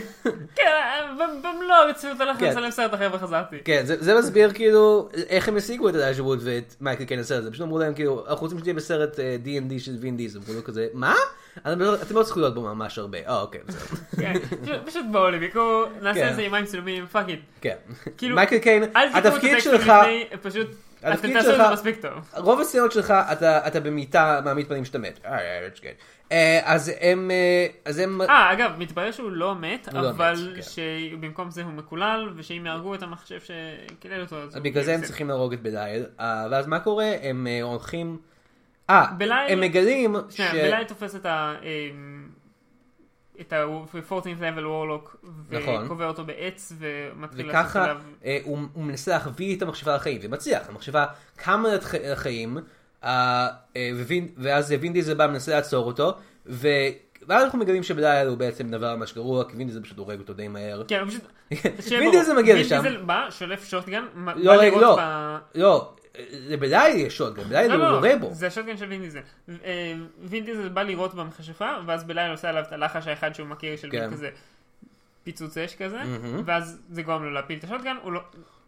[SPEAKER 2] כן, ב- במלוא הרצינות הלכתי
[SPEAKER 1] כן.
[SPEAKER 2] לצלם סרט אחר וחזרתי.
[SPEAKER 1] כן, זה, זה מסביר כאילו איך הם השיגו את אלייג'ה ווד ואת מייקל קיין לסרט הזה. פשוט אמרו להם כאילו, אנחנו רוצים שתהיה בסרט אה, D&D של וין דיזל. אמרו לו כזה, מה? אתם לא, אתם לא צריכים להיות בו ממש הרבה. אה, אוקיי, בסדר.
[SPEAKER 2] כן, פשוט- פשוט בואו לביקור, נעשה
[SPEAKER 1] כן.
[SPEAKER 2] את זה עם מים צילומים, פאק איט.
[SPEAKER 1] כן.
[SPEAKER 2] כאילו,
[SPEAKER 1] מייקל קיין,
[SPEAKER 2] אל תקראו את
[SPEAKER 1] התפקיד
[SPEAKER 2] הטקסטים
[SPEAKER 1] שלך,
[SPEAKER 2] לפני, פשוט, אתם
[SPEAKER 1] התפקיד
[SPEAKER 2] תעשו את זה
[SPEAKER 1] שלך-
[SPEAKER 2] מספיק טוב.
[SPEAKER 1] רוב הסצנות שלך, אתה, אתה במיטה מעמיד פנים שאתה מת. אה, אה, that's good. אה, אז הם, אה, אז הם,
[SPEAKER 2] אה, אגב, מתברר שהוא לא מת,
[SPEAKER 1] לא
[SPEAKER 2] אבל
[SPEAKER 1] מת, כן.
[SPEAKER 2] שבמקום זה הוא מקולל, ושאם יהרגו את המחשב שקילל אותו, אז הוא
[SPEAKER 1] בגלל זה הם
[SPEAKER 2] יפסיד.
[SPEAKER 1] צריכים להרוג את בלייל. אה, ואז מה קורה? הם אה, הולכים, אה,
[SPEAKER 2] בלייל-
[SPEAKER 1] הם מגלים ש...
[SPEAKER 2] שנייה, בלילה תופס את ה... אמ, את ה-14th level warlock,
[SPEAKER 1] נכון.
[SPEAKER 2] וקובע אותו בעץ, ומתחיל לעשות
[SPEAKER 1] וככה
[SPEAKER 2] עליו...
[SPEAKER 1] אה, הוא, הוא מנסה להחביא את המחשבה לחיים, ומצליח, המחשבה קמה לח- לחיים, אה, אה, ווין- ואז וין דיזל בא מנסה לעצור אותו, ו... ואז אנחנו מגלים שבלילה הוא בעצם דבר ממש גרוע, כי וין דיזל פשוט הורג אותו די מהר.
[SPEAKER 2] כן, הוא פשוט... שיהיה
[SPEAKER 1] וין
[SPEAKER 2] ברור,
[SPEAKER 1] דיזל מגיע
[SPEAKER 2] וין
[SPEAKER 1] לשם.
[SPEAKER 2] דיזל בא, שולף שוטגן, מ-
[SPEAKER 1] לא,
[SPEAKER 2] בא
[SPEAKER 1] רגע,
[SPEAKER 2] לראות
[SPEAKER 1] לא.
[SPEAKER 2] ב-
[SPEAKER 1] לא, לבלילה יש עוד, לבלילה הוא יורה בו.
[SPEAKER 2] לא, זה השוטגן של וינדיזל. וינדיזל בא לירות במכשפה, ואז בלילה עושה עליו את הלחש האחד שהוא מכיר של
[SPEAKER 1] כן.
[SPEAKER 2] מין כזה פיצוץ אש כזה, ואז זה גורם לו להפיל את השוטגן, הוא לא...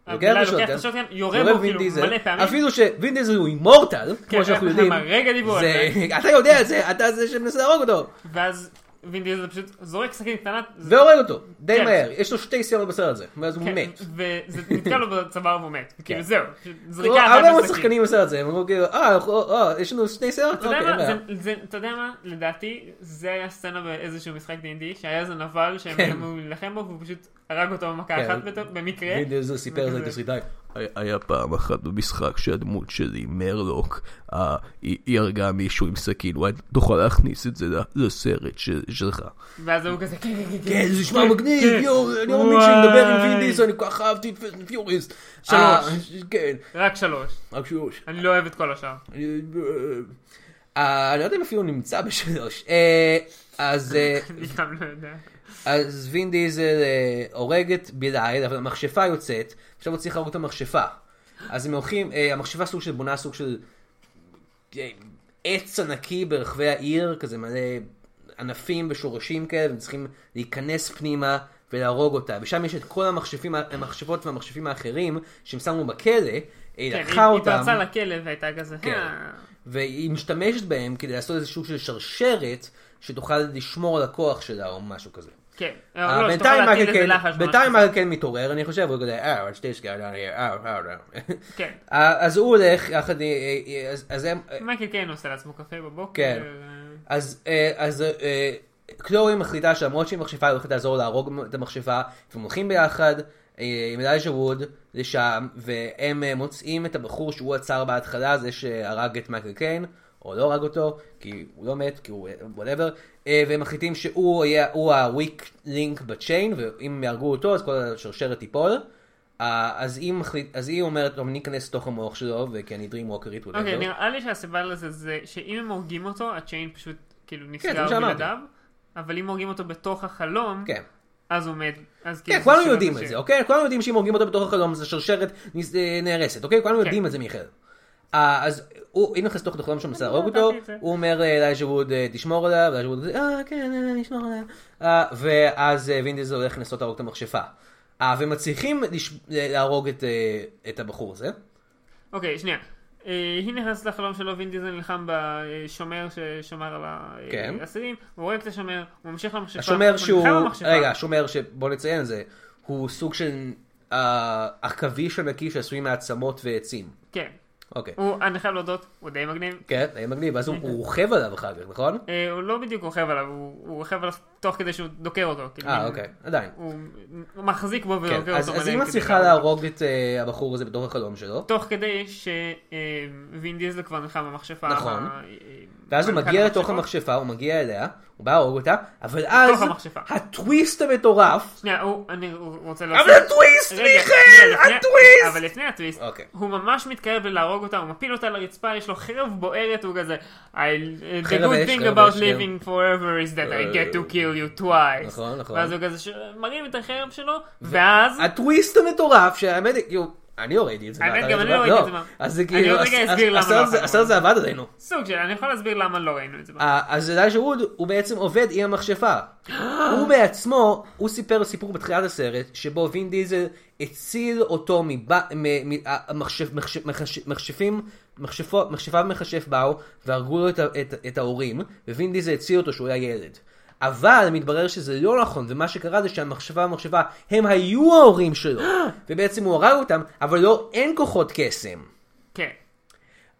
[SPEAKER 1] לוקח את כן?
[SPEAKER 2] בלילה לוקח את
[SPEAKER 1] השוטגן,
[SPEAKER 2] השוטגן, יורה בו כאילו מלא פעמים.
[SPEAKER 1] אפילו שווין דיזל הוא אימורטל,
[SPEAKER 2] כן,
[SPEAKER 1] כמו שאנחנו
[SPEAKER 2] אנחנו
[SPEAKER 1] יודעים.
[SPEAKER 2] הרגע דיברו על
[SPEAKER 1] זה- אתה יודע את זה, אתה זה שמנסה להרוג אותו.
[SPEAKER 2] ואז וינדיזל פשוט זורק סכין קטנה. זה-
[SPEAKER 1] והורג אותו, די
[SPEAKER 2] כן.
[SPEAKER 1] מהר. יש לו שתי סצנות בסרט הזה, ואז הוא
[SPEAKER 2] כן,
[SPEAKER 1] מת.
[SPEAKER 2] וזה נתקע לו בצוואר והוא מת. כאילו
[SPEAKER 1] כן.
[SPEAKER 2] זהו, פשוט זריקה אחת
[SPEAKER 1] הרבה מאוד
[SPEAKER 2] בסכין.
[SPEAKER 1] שחקנים בסרט הזה, הם אמרו כאילו, אה, אנחנו- אה, יש לנו שני סרט?
[SPEAKER 2] אתה יודע
[SPEAKER 1] אוקיי,
[SPEAKER 2] מה?
[SPEAKER 1] אין
[SPEAKER 2] זה- זה- אתה יודע מה? לדעתי, זה היה סצנה באיזשהו משחק D&D, שהיה איזה נבל שהם
[SPEAKER 1] כן.
[SPEAKER 2] נלחמו להילחם בו, והוא פשוט הרג אותו במכה
[SPEAKER 1] כן.
[SPEAKER 2] אחת בת- במקרה.
[SPEAKER 1] בעיה. וין דיזל סיפר את
[SPEAKER 2] כן.
[SPEAKER 1] זה לתסריטאי.
[SPEAKER 3] היה- היה פעם אחת במשחק שהדמות שלי, מרלוק, אה, היא היא הרגה מישהו עם סכין, וואי, תוכל להכניס את זה ל- לסרט של- שלך.
[SPEAKER 2] ואז הוא כזה, כן, כן, כן, כן.
[SPEAKER 1] כן, זה נשמע מגניב,
[SPEAKER 2] כן.
[SPEAKER 1] יואו, אני לא מאמין שאני מדבר עם וין
[SPEAKER 2] וואי. אה,
[SPEAKER 1] דיזל, אני כל כך אהבתי את פסט פיוריס.
[SPEAKER 2] שלוש.
[SPEAKER 1] כן,
[SPEAKER 2] רק שלוש.
[SPEAKER 1] רק שלוש.
[SPEAKER 2] אני לא אוהב את כל השאר.
[SPEAKER 1] אני אה, אני לא יודע אם אפילו נמצא בשלוש. אה, אז... אה,
[SPEAKER 2] אני גם לא יודע.
[SPEAKER 1] אז וין דיזל אה, הורג את בלייל, אבל המכשפה יוצאת, עכשיו הוא צריך להרוג את המכשפה. אז הם הולכים, אה, המכשפה סוג של בונה סוג של אה, עץ ענקי ברחבי העיר, כזה מלא ענפים ושורשים כאלה, והם צריכים להיכנס פנימה ולהרוג אותה. ושם יש את כל המכשפים, ה- המכשפות והמכשפים האחרים שהם שמו בכלא, היא
[SPEAKER 2] כן, היא
[SPEAKER 1] לקחה
[SPEAKER 2] היא
[SPEAKER 1] אותם,
[SPEAKER 2] פרצה לכלא והייתה כזה,
[SPEAKER 1] כן.
[SPEAKER 2] "אה."
[SPEAKER 1] והיא משתמשת בהם כדי לעשות איזה סוג של שרשרת, שתוכל לשמור על הכוח שלה או משהו כזה.
[SPEAKER 2] כן.
[SPEAKER 1] אה,
[SPEAKER 2] לא,
[SPEAKER 1] בינתיים
[SPEAKER 2] שתוכל להטיל
[SPEAKER 1] מייקל
[SPEAKER 2] איזה
[SPEAKER 1] קיין-
[SPEAKER 2] לחש
[SPEAKER 1] בינתיים
[SPEAKER 2] ממש.
[SPEAKER 1] מייקל קיין מתעורר, אני חושב, הוא כזה, אה, what's this guy down here, אה, אה, אה.
[SPEAKER 2] כן.
[SPEAKER 1] אה, אז הוא הולך, יחד, אה, אה, אז- אז הם, אה,
[SPEAKER 2] מייקל קיין עושה לעצמו קפה בבוקר.
[SPEAKER 1] כן.
[SPEAKER 2] אה,
[SPEAKER 1] אז, אה, אז אה, אה, קלורי מחליטה שלמרות שהיא מכשפה, היא הולכת לעזור להרוג את המכשפה, והם הולכים ביחד אה, עם אלייז'ה ווד לשם, והם אה, מוצאים את הבחור שהוא עצר בהתחלה, זה שהרג את מייקל קיין, או לא הרג אותו, כי הוא לא מת, כי הוא וואטאבר, והם מחליטים שהוא יהיה, הוא ה-weak link בצ'יין, ואם יהרגו אותו אז כל השרשרת תיפול. אה, אז היא, מחליט, אז היא אומרת, טוב, אני אכנס לתוך המוח שלו, וכי אני דרים ווקרית,
[SPEAKER 2] אוקיי,
[SPEAKER 1] וואטאבר.
[SPEAKER 2] נראה לי שהסיבה לזה זה שאם הם הורגים אותו, הצ'יין פשוט כאילו
[SPEAKER 1] כן, זה מה
[SPEAKER 2] נסגר
[SPEAKER 1] שאמרתי.
[SPEAKER 2] בלעדיו, אבל אם הורגים אותו בתוך החלום,
[SPEAKER 1] כן.
[SPEAKER 2] אז הוא מת. אז כאילו
[SPEAKER 1] כן, כולנו
[SPEAKER 2] שלא
[SPEAKER 1] יודעים את
[SPEAKER 2] משאיר.
[SPEAKER 1] זה, אוקיי? כולנו יודעים שאם הורגים אותו בתוך החלום, אז השרשרת נס- אה, נהרסת, אוקיי?
[SPEAKER 2] כן.
[SPEAKER 1] כולנו יודעים את זה מיכאל. אה, אז הוא, היא נכנסת לתוך החלום שהוא מנסה להרוג
[SPEAKER 2] לא
[SPEAKER 1] אותו,
[SPEAKER 2] ידעתי את זה.
[SPEAKER 1] הוא אומר אה, לאייז'ה ווד, אה, תשמור עליו, ואייז'ה ווד, אה, כן, אה, נשמור עליו. אה, ואז אה, וינדיזל הולך לנסות להרוג את המכשפה. אה, ומצליחים לש- להרוג את, אה, את הבחור הזה.
[SPEAKER 2] אוקיי, שנייה. אה, היא נכנסת לחלום שלו, וין דיזל נלחם בשומר ששמר על
[SPEAKER 1] כן.
[SPEAKER 2] האסירים, הוא רואה את השומר, הוא ממשיך למכשפה, הוא
[SPEAKER 1] השומר
[SPEAKER 2] נלחם
[SPEAKER 1] שהוא,
[SPEAKER 2] במכשפה.
[SPEAKER 1] רגע, השומר שבוא נציין את זה, הוא סוג של אה, עכביש ענקי שעשוי מעצמות ועצים.
[SPEAKER 2] כן.
[SPEAKER 1] אוקיי.
[SPEAKER 2] הוא, אני חייב להודות, הוא די מגניב.
[SPEAKER 1] כן, היה מגניב, ואז הוא הוא רוכב עליו אחר כך, נכון?
[SPEAKER 2] אה, הוא לא בדיוק רוכב עליו, הוא הוא רוכב עליו תוך כדי שהוא דוקר אותו. כאילו,
[SPEAKER 1] אה,
[SPEAKER 2] מין-
[SPEAKER 1] אוקיי, עדיין.
[SPEAKER 2] הוא הוא מחזיק בו
[SPEAKER 1] כן,
[SPEAKER 2] ודוקר
[SPEAKER 1] אז
[SPEAKER 2] אותו.
[SPEAKER 1] אז
[SPEAKER 2] מלא
[SPEAKER 1] היא
[SPEAKER 2] כדי
[SPEAKER 1] מצליחה להרוג את אה, הבחור הזה בתוך החלום שלו,
[SPEAKER 2] תוך כדי שווין דיזל כבר נלחם במכשפה.
[SPEAKER 1] נכון.
[SPEAKER 2] ה- אה,
[SPEAKER 1] ואז הוא
[SPEAKER 2] מנכ"ל
[SPEAKER 1] מגיע לתוך
[SPEAKER 2] המכשפות.
[SPEAKER 1] המכשפה, הוא מגיע אליה, הוא בא להרוג אותה, אבל אז
[SPEAKER 2] המכשפה.
[SPEAKER 1] הטוויסט המטורף,
[SPEAKER 2] שנייה, הוא- אני רוצה
[SPEAKER 1] אבל הטוויסט,
[SPEAKER 2] רגע, שנייה,
[SPEAKER 1] מיכאל,
[SPEAKER 2] לפני- אבל
[SPEAKER 1] הטוויסט!
[SPEAKER 2] לפני הטוויסט,
[SPEAKER 1] אוקיי.
[SPEAKER 2] הוא ממש מתקרב להרוג אותה, הוא מפיל אותה לרצפה, יש לו חרב בוערת, הוא כזה, I- uh, the
[SPEAKER 1] חרב
[SPEAKER 2] good
[SPEAKER 1] אש,
[SPEAKER 2] thing
[SPEAKER 1] חרב
[SPEAKER 2] about
[SPEAKER 1] אש, כן. אה,
[SPEAKER 2] living forever is that I get to kill you twice.
[SPEAKER 1] נכון, נכון.
[SPEAKER 2] ואז הוא כזה ש- מרים את החרב שלו, ואז...
[SPEAKER 1] הטוויסט המטורף, שהאמת, היא- כאילו, אני לא ראיתי את זה.
[SPEAKER 2] האמת,
[SPEAKER 1] באתר
[SPEAKER 2] גם אני לא
[SPEAKER 1] HBO,
[SPEAKER 2] ראיתי את זה, מה.
[SPEAKER 1] אז זה
[SPEAKER 2] אני
[SPEAKER 1] כאילו,
[SPEAKER 2] עוד רגע
[SPEAKER 1] הס-
[SPEAKER 2] אסביר למה
[SPEAKER 1] הסרט
[SPEAKER 2] לא
[SPEAKER 1] זה-
[SPEAKER 2] ראינו.
[SPEAKER 1] הסרט זה עבד עלינו.
[SPEAKER 2] סוג של, אני יכול להסביר למה לא ראינו את זה.
[SPEAKER 1] אה, אז אלייז'ה ווד הוא בעצם עובד עם המכשפה. הוא בעצמו, הוא סיפר סיפור בתחילת הסרט, שבו וין דיזל הציל אותו ממכשפים, מכשפיו מכשף באו, והרגו לו את ה- את- את ההורים, ווין דיזל הציל אותו שהוא היה ילד. אבל מתברר שזה לא נכון, ומה שקרה זה שהמחשבה והמחשבה, הם היו ההורים שלו, ובעצם הוא הרג אותם, אבל לא, אין כוחות קסם.
[SPEAKER 2] כן.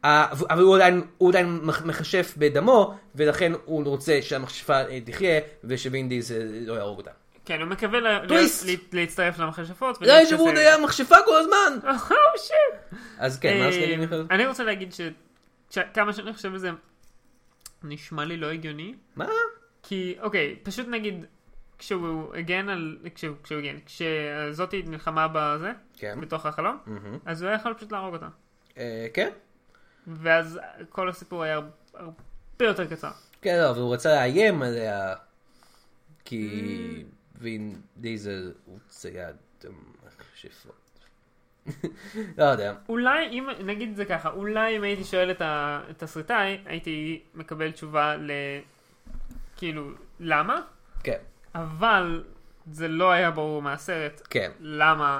[SPEAKER 1] אה, ו- אבל הוא עדיין, הוא עדיין מח- מכשף בדמו, ולכן הוא רוצה שהמכשפה אה, תחיה, ושווין דיזל לא יהרוג אותה.
[SPEAKER 2] כן, הוא מקווה ל-
[SPEAKER 1] טוויסט.
[SPEAKER 2] להיות- לה- להצטרף למכשפות. Oh,
[SPEAKER 1] לא, יש אמור, היה מכשפה כל הזמן!
[SPEAKER 2] אוהו, שיט.
[SPEAKER 1] אז כן, מה
[SPEAKER 2] אה,
[SPEAKER 1] עשיתי מיכאל?
[SPEAKER 2] אני רוצה להגיד ש- שכמה שאני חושב על זה, נשמע לי לא הגיוני.
[SPEAKER 1] מה?
[SPEAKER 2] כי, אוקיי, פשוט נגיד, כשהוא הגן על... כשהוא כשהוא הגן, כשזאתי נלחמה בזה,
[SPEAKER 1] כן.
[SPEAKER 2] בתוך החלום, אז הוא היה יכול פשוט להרוג אותה.
[SPEAKER 1] אה, כן?
[SPEAKER 2] ואז כל הסיפור היה הר- הרבה יותר קצר.
[SPEAKER 1] כן, לא, אבל הוא רצה לאיים עליה,
[SPEAKER 2] אה.
[SPEAKER 1] כי וין דיזל הוא צייד המכשפות. לא יודע.
[SPEAKER 2] אולי, אם, נגיד את זה ככה, אולי אם הייתי שואל את ה- את התסריטאי, הייתי מקבל תשובה ל... כאילו, למה?
[SPEAKER 1] כן,
[SPEAKER 2] אבל זה לא היה ברור מהסרט,
[SPEAKER 1] כן.
[SPEAKER 2] למה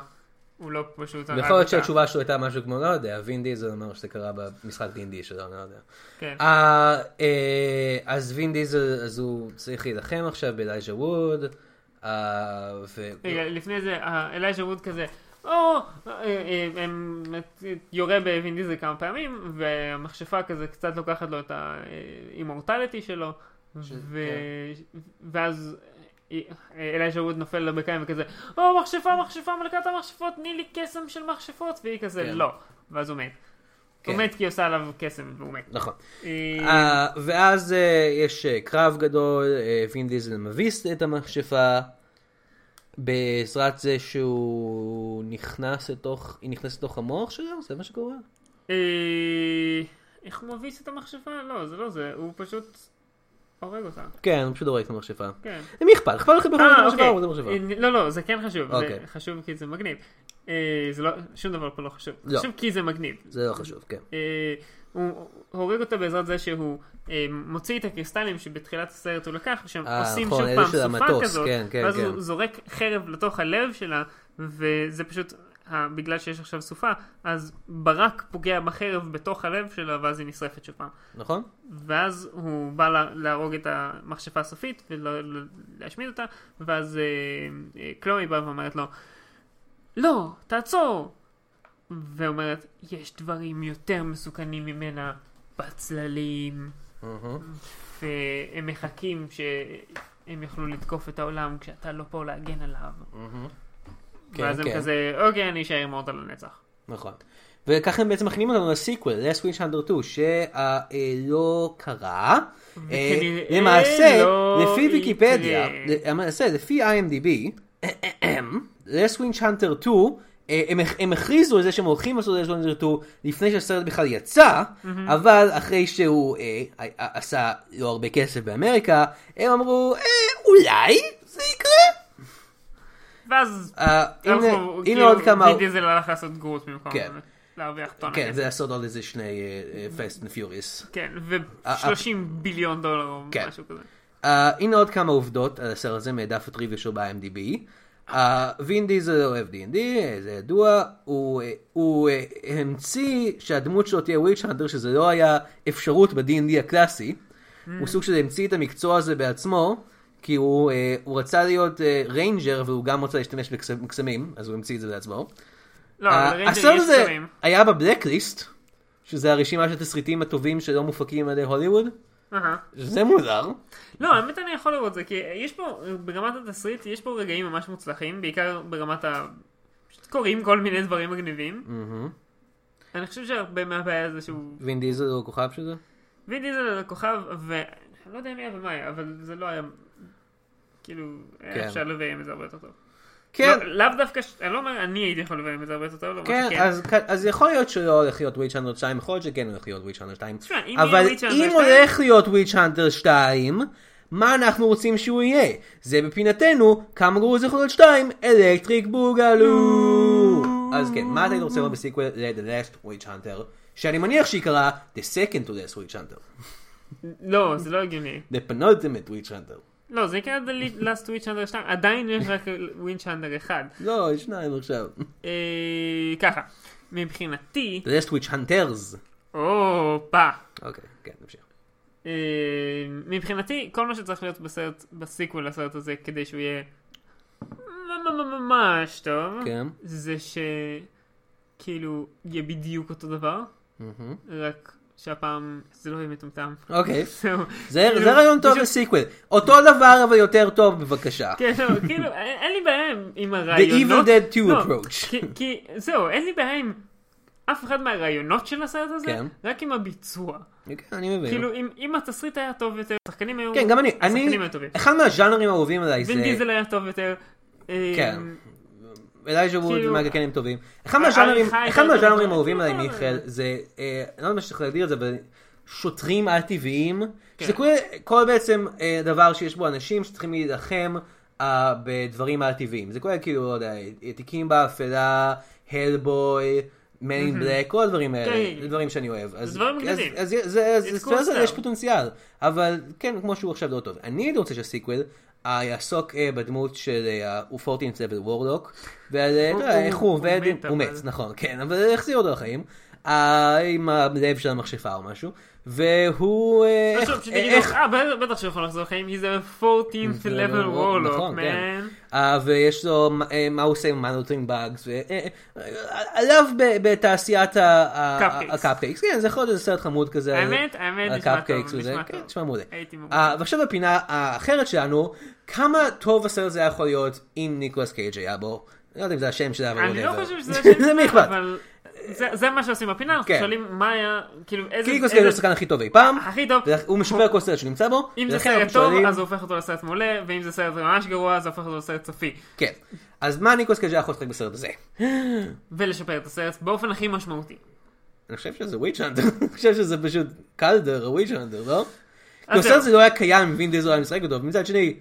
[SPEAKER 2] הוא לא פשוט הרג
[SPEAKER 1] יכול להיות
[SPEAKER 2] אותה.
[SPEAKER 1] שהתשובה שלו הייתה משהו כמו, לא יודע, וין דיזל אמר שזה קרה במשחק D&D שלו, אני לא יודע.
[SPEAKER 2] כן.
[SPEAKER 1] אה, אה, אז וין דיזל, אז הוא צריך להילחם עכשיו באלייז'ה ווד, אה, ו...
[SPEAKER 2] רגע, לפני זה, אה, אלייז'ה ווד כזה, או, אה, אה, הם- אה, יורה בווין דיזל כמה פעמים, והמכשפה כזה קצת לוקחת לו את האימורטליטי שלו, ו- ואז אה, אה, אלייז'ה ווד נופל לו בקיים וכזה, או, מכשפה, מכשפה, מלכת המכשפות, תני לי קסם של מכשפות, והיא כזה,
[SPEAKER 1] כן.
[SPEAKER 2] לא, ואז הוא מת. הוא
[SPEAKER 1] כן.
[SPEAKER 2] מת כי היא עושה עליו קסם והוא מת.
[SPEAKER 1] נכון.
[SPEAKER 2] אה,
[SPEAKER 1] אה, ואז אה, יש אה, קרב גדול, אה, וין דיזל מביס את המכשפה, בעזרת זה שהוא נכנס לתוך, היא נכנסת לתוך המוח שלו? זה מה שקורה?
[SPEAKER 2] אה, איך הוא מביס את המכשפה? לא, זה לא זה, הוא פשוט הורג אותה.
[SPEAKER 1] כן, הוא פשוט הורג את המכשפה.
[SPEAKER 2] כן.
[SPEAKER 1] למי אכפת? אכפת לכם בכלל את
[SPEAKER 2] אה,
[SPEAKER 1] המכשפה?
[SPEAKER 2] אוקיי.
[SPEAKER 1] או את המכשפה?
[SPEAKER 2] אה, לא, לא, זה כן חשוב. זה
[SPEAKER 1] אוקיי.
[SPEAKER 2] חשוב כי זה מגניב. אה, זה לא, שום דבר פה לא חשוב.
[SPEAKER 1] לא.
[SPEAKER 2] חשוב כי זה מגניב.
[SPEAKER 1] זה לא חשוב, כן.
[SPEAKER 2] אה, הוא הורג אותה בעזרת זה שהוא אה, מוציא את הקריסטלים שבתחילת הסרט הוא לקח, שהם
[SPEAKER 1] אה,
[SPEAKER 2] עושים
[SPEAKER 1] נכון,
[SPEAKER 2] שוב
[SPEAKER 1] אלה
[SPEAKER 2] פעם
[SPEAKER 1] של
[SPEAKER 2] סופה
[SPEAKER 1] המטוס,
[SPEAKER 2] כזאת,
[SPEAKER 1] כן, כן,
[SPEAKER 2] ואז
[SPEAKER 1] כן.
[SPEAKER 2] הוא זורק חרב לתוך הלב שלה, וזה פשוט, אה, בגלל שיש עכשיו סופה, אז ברק פוגע בחרב בתוך הלב שלה, ואז היא נשרפת שוב פעם.
[SPEAKER 1] נכון?
[SPEAKER 2] ואז הוא בא לה- להרוג את המכשפה הסופית ולהשמיד אותה, ואז אה, אה, קלואי באה ואומרת לו, לא, תעצור! ואומרת, יש דברים יותר מסוכנים ממנה בצללים, והם מחכים שהם יוכלו לתקוף את העולם כשאתה לא פה להגן עליו.
[SPEAKER 1] כן,
[SPEAKER 2] ואז הם
[SPEAKER 1] כן.
[SPEAKER 2] כזה, אוקיי, אני אשאר עם מורטל לנצח.
[SPEAKER 1] נכון. וככה הם בעצם מכינים אותנו לסיקוול, Last Wish Under 2, שלא קרה. אה,
[SPEAKER 2] וכנראה
[SPEAKER 1] למעשה,
[SPEAKER 2] לא
[SPEAKER 1] לפי
[SPEAKER 2] יקרה.
[SPEAKER 1] ויקיפדיה, למעשה, לפי IMDb, Last Wish Hunter 2, אה, הם, הם הכריזו על זה שהם הולכים לעשות Last Wish Hunter 2 לפני שהסרט בכלל יצא, אבל אחרי שהוא אה, ה- ה- עשה לא הרבה כסף באמריקה, הם אמרו, "אה, אולי זה יקרה.
[SPEAKER 2] ואז...
[SPEAKER 1] אה, הנה-
[SPEAKER 2] אנחנו-
[SPEAKER 1] הנה
[SPEAKER 2] כאילו,
[SPEAKER 1] עוד כמה...
[SPEAKER 2] ויד דיזל הלך לעשות גרוט במקום
[SPEAKER 1] כן.
[SPEAKER 2] זה, להרוויח טון.
[SPEAKER 1] כן,
[SPEAKER 2] הכסף.
[SPEAKER 1] זה לעשות עוד איזה שני אה, פסט אנד פיוריס.
[SPEAKER 2] כן, ו-30 ביליון דולר או
[SPEAKER 1] אה, כן.
[SPEAKER 2] משהו כזה.
[SPEAKER 1] הנה עוד כמה עובדות על הסרט הזה מדף הטריוויה שלו ב-IMDb. אה, וין דיזל אוהב D&D, אה, זה ידוע. הוא, אה, הוא אה, המציא שהדמות שלו תהיה וויץ' האנדר, שזה לא היה אפשרות ב-D&D הקלאסי. הוא סוג של המציא את המקצוע הזה בעצמו, כי הוא, אה, הוא רצה להיות אה, ריינג'ר והוא גם רצה להשתמש בקסמים, בקסמים, אז הוא המציא את זה בעצמו.
[SPEAKER 2] לא,
[SPEAKER 1] אה,
[SPEAKER 2] אבל לריינג'ר
[SPEAKER 1] הסרט
[SPEAKER 2] יש
[SPEAKER 1] הזה
[SPEAKER 2] סמים.
[SPEAKER 1] היה בבלקליסט, שזה הרשימה של התסריטים הטובים שלא מופקים על ידי הוליווד,
[SPEAKER 2] אהה.
[SPEAKER 1] שזה מוזר.
[SPEAKER 2] לא, האמת אני יכול לראות את זה, כי יש פה, ברמת התסריט, יש פה רגעים ממש מוצלחים, בעיקר ברמת ה... פשוט קוראים כל מיני דברים מגניבים. אני חושב שהרבה מהבעיה זה שהוא...
[SPEAKER 1] וין דיזל הוא הכוכב של זה?
[SPEAKER 2] וין דיזל הכוכב, ואני לא יודע מי היה ומה היה, אבל זה לא היה... כאילו,
[SPEAKER 1] כן.
[SPEAKER 2] היה אפשר לביים את זה הרבה יותר טוב.
[SPEAKER 1] כן,
[SPEAKER 2] לא- לאו דווקא, ש- אני לא אומר, אני הייתי יכול לביים את זה הרבה יותר טוב, למרות
[SPEAKER 1] כן,
[SPEAKER 2] שכן.
[SPEAKER 1] אז כ- אז יכול להיות שלא הולך להיות וויץ' האנדר 2, יכול להיות שכן הולך להיות וויץ' האנדר 2,
[SPEAKER 2] תשמע, אם יהיה
[SPEAKER 1] אבל
[SPEAKER 2] Witch Hunter
[SPEAKER 1] אם
[SPEAKER 2] 2
[SPEAKER 1] הולך להיות וויץ' האנדר 2, מה אנחנו רוצים שהוא יהיה? זה בפינתנו, כמה גרוע זה יכול להיות 2, אלקטריק בוגלו! אז כן, מה אתה היית רוצה לראות בסיקוויל ל-The Last Witch Hunter, שאני מניח שיקרא The Second to Last Witch Hunter,
[SPEAKER 2] לא, זה לא הגיוני.
[SPEAKER 1] The Penultimate Witch Hunter.
[SPEAKER 2] לא, זה יקרה עד ה-Last ווינצ'אנדר 2, עדיין יש רק ווינצ'אנדר 1.
[SPEAKER 1] לא, יש שניים עכשיו.
[SPEAKER 2] אה, ככה, מבחינתי,
[SPEAKER 1] The Last Witch Hunters.
[SPEAKER 2] הופה.
[SPEAKER 1] אוקיי, כן, נמשיך.
[SPEAKER 2] אה, מבחינתי, כל מה שצריך להיות בסרט, בסיקוול לסרט הזה, כדי שהוא יהיה ממש טוב,
[SPEAKER 1] כן.
[SPEAKER 2] זה שכאילו יהיה בדיוק אותו דבר, רק שהפעם זה לא יהיה מטומטם.
[SPEAKER 1] אוקיי.
[SPEAKER 2] זהו.
[SPEAKER 1] זה
[SPEAKER 2] כאילו,
[SPEAKER 1] זה רעיון טוב
[SPEAKER 2] פשוט-
[SPEAKER 1] לסיקוויל. אותו דבר אבל יותר טוב בבקשה.
[SPEAKER 2] כן, לא, כאילו, אין אין לי בעיה עם- עם
[SPEAKER 1] Evil
[SPEAKER 2] הרעיונות.
[SPEAKER 1] Dead 2
[SPEAKER 2] לא,
[SPEAKER 1] approach.
[SPEAKER 2] כי- כי זהו, אין לי בעיה עם אף אחד מהרעיונות של הסרט הזה,
[SPEAKER 1] כן.
[SPEAKER 2] רק עם הביצוע.
[SPEAKER 1] כן, אני מבין.
[SPEAKER 2] כאילו, אם- אם התסריט היה טוב יותר, השחקנים היו...
[SPEAKER 1] כן, גם אני. אני,
[SPEAKER 2] השחקנים היו טובים.
[SPEAKER 1] אחד מהז'אנרים האהובים עליי זה...
[SPEAKER 2] וין דיזל היה טוב יותר. אה,
[SPEAKER 1] כן. אליי שבועות
[SPEAKER 2] כאילו-
[SPEAKER 1] ומאגר קנים כן, טובים. אחד מהז'אנרים,
[SPEAKER 2] העריכה הייתה
[SPEAKER 1] אחד
[SPEAKER 2] יותר
[SPEAKER 1] מהז'אנרים
[SPEAKER 2] טובה.
[SPEAKER 1] האהובים עליי,
[SPEAKER 2] אה.
[SPEAKER 1] מיכאל, זה, אה, אני לא יודע מה שצריך להגדיר את זה, אבל שוטרים על-טבעיים,
[SPEAKER 2] כן.
[SPEAKER 1] שזה כל- כל בעצם אה, דבר שיש בו אנשים שצריכים להילחם אה, בדברים על-טבעיים. זה כולל כאילו, לא יודע, תיקים באפלה, הלבוי. Man in Black, כל הדברים האלה,
[SPEAKER 2] כן.
[SPEAKER 1] זה דברים שאני אוהב. אז-
[SPEAKER 2] זה דברים
[SPEAKER 1] אז-
[SPEAKER 2] מגניבים.
[SPEAKER 1] אז זה- זה-
[SPEAKER 2] It's
[SPEAKER 1] זה-
[SPEAKER 2] cool
[SPEAKER 1] זה- יש
[SPEAKER 2] stuff.
[SPEAKER 1] פוטנציאל, אבל כן, כמו שהוא עכשיו לא טוב. אני הייתי רוצה שהסיקוול אה, יעסוק אה, בדמות של ה-14 level אה, וורלוק,
[SPEAKER 2] הוא-
[SPEAKER 1] ואיך הוא
[SPEAKER 2] הוא
[SPEAKER 1] עובד,
[SPEAKER 2] מת,
[SPEAKER 1] הוא
[SPEAKER 2] אבל-
[SPEAKER 1] מת, נכון, כן, אבל החזיר אותו לחיים, אה, עם הלב של המכשפה או משהו, והוא... אה,
[SPEAKER 2] לא
[SPEAKER 1] איך-
[SPEAKER 2] שוב, שתגידו,
[SPEAKER 1] איך...
[SPEAKER 2] אה, בטח- בטח שהוא יכול לחזור לחיים, כי זה 14th level
[SPEAKER 1] נכון,
[SPEAKER 2] warlock,
[SPEAKER 1] כן.
[SPEAKER 2] man.
[SPEAKER 1] אה, ויש לו, מה- אה, מה הוא עושה עם מנוטרינג באגס, אה, עליו ב- בתעשיית
[SPEAKER 2] Cupcakes.
[SPEAKER 1] הקאפקייקס, כן, זה יכול להיות איזה סרט חמוד כזה,
[SPEAKER 2] האמת, האמת, נשמע
[SPEAKER 1] הקאפקייקס
[SPEAKER 2] טוב,
[SPEAKER 1] וזה,
[SPEAKER 2] נשמע
[SPEAKER 1] כן,
[SPEAKER 2] טוב.
[SPEAKER 1] נשמע מעולה.
[SPEAKER 2] הייתי
[SPEAKER 1] אה,
[SPEAKER 2] מרוצה.
[SPEAKER 1] ועכשיו בפינה האחרת שלנו, כמה טוב הסרט הזה היה יכול להיות אם ניקולס קייג' היה בו, אני לא יודע אם זה השם שלה, אבל
[SPEAKER 2] אני לא
[SPEAKER 1] whatever.
[SPEAKER 2] חושב שזה השם
[SPEAKER 1] זה
[SPEAKER 2] שלו,
[SPEAKER 1] מי אכפת,
[SPEAKER 2] אבל זה- זה מה שעושים בפינה, אנחנו
[SPEAKER 1] כן.
[SPEAKER 2] שואלים מה היה, כאילו, איזה...
[SPEAKER 1] כי ניקולס קייג' הוא
[SPEAKER 2] איזה-
[SPEAKER 1] השחקן הכי טוב אי פעם,
[SPEAKER 2] הכי טוב.
[SPEAKER 1] ולכ- הוא משפר כל סרט שנמצא בו,
[SPEAKER 2] אם זה
[SPEAKER 1] ולכן
[SPEAKER 2] סרט
[SPEAKER 1] אנחנו
[SPEAKER 2] טוב,
[SPEAKER 1] שואלים-
[SPEAKER 2] אז זה הופך אותו לסרט מעולה, ואם זה סרט ממש גרוע, זה הופך אותו לסרט צפי.
[SPEAKER 1] כן, אז מה ניקולס קייג' היה יכול לשחק בסרט הזה?
[SPEAKER 2] ולשפר את הסרט באופן הכי משמעותי.
[SPEAKER 1] אני חושב שזה וויצ'אנדר, אני חושב שזה פשוט קלדר, וויצ'אנדר, לא? כי
[SPEAKER 2] זהו.
[SPEAKER 1] הסרט הזה לא היה קיים אם וין דיזל היה משחק אותו, ומצד שני,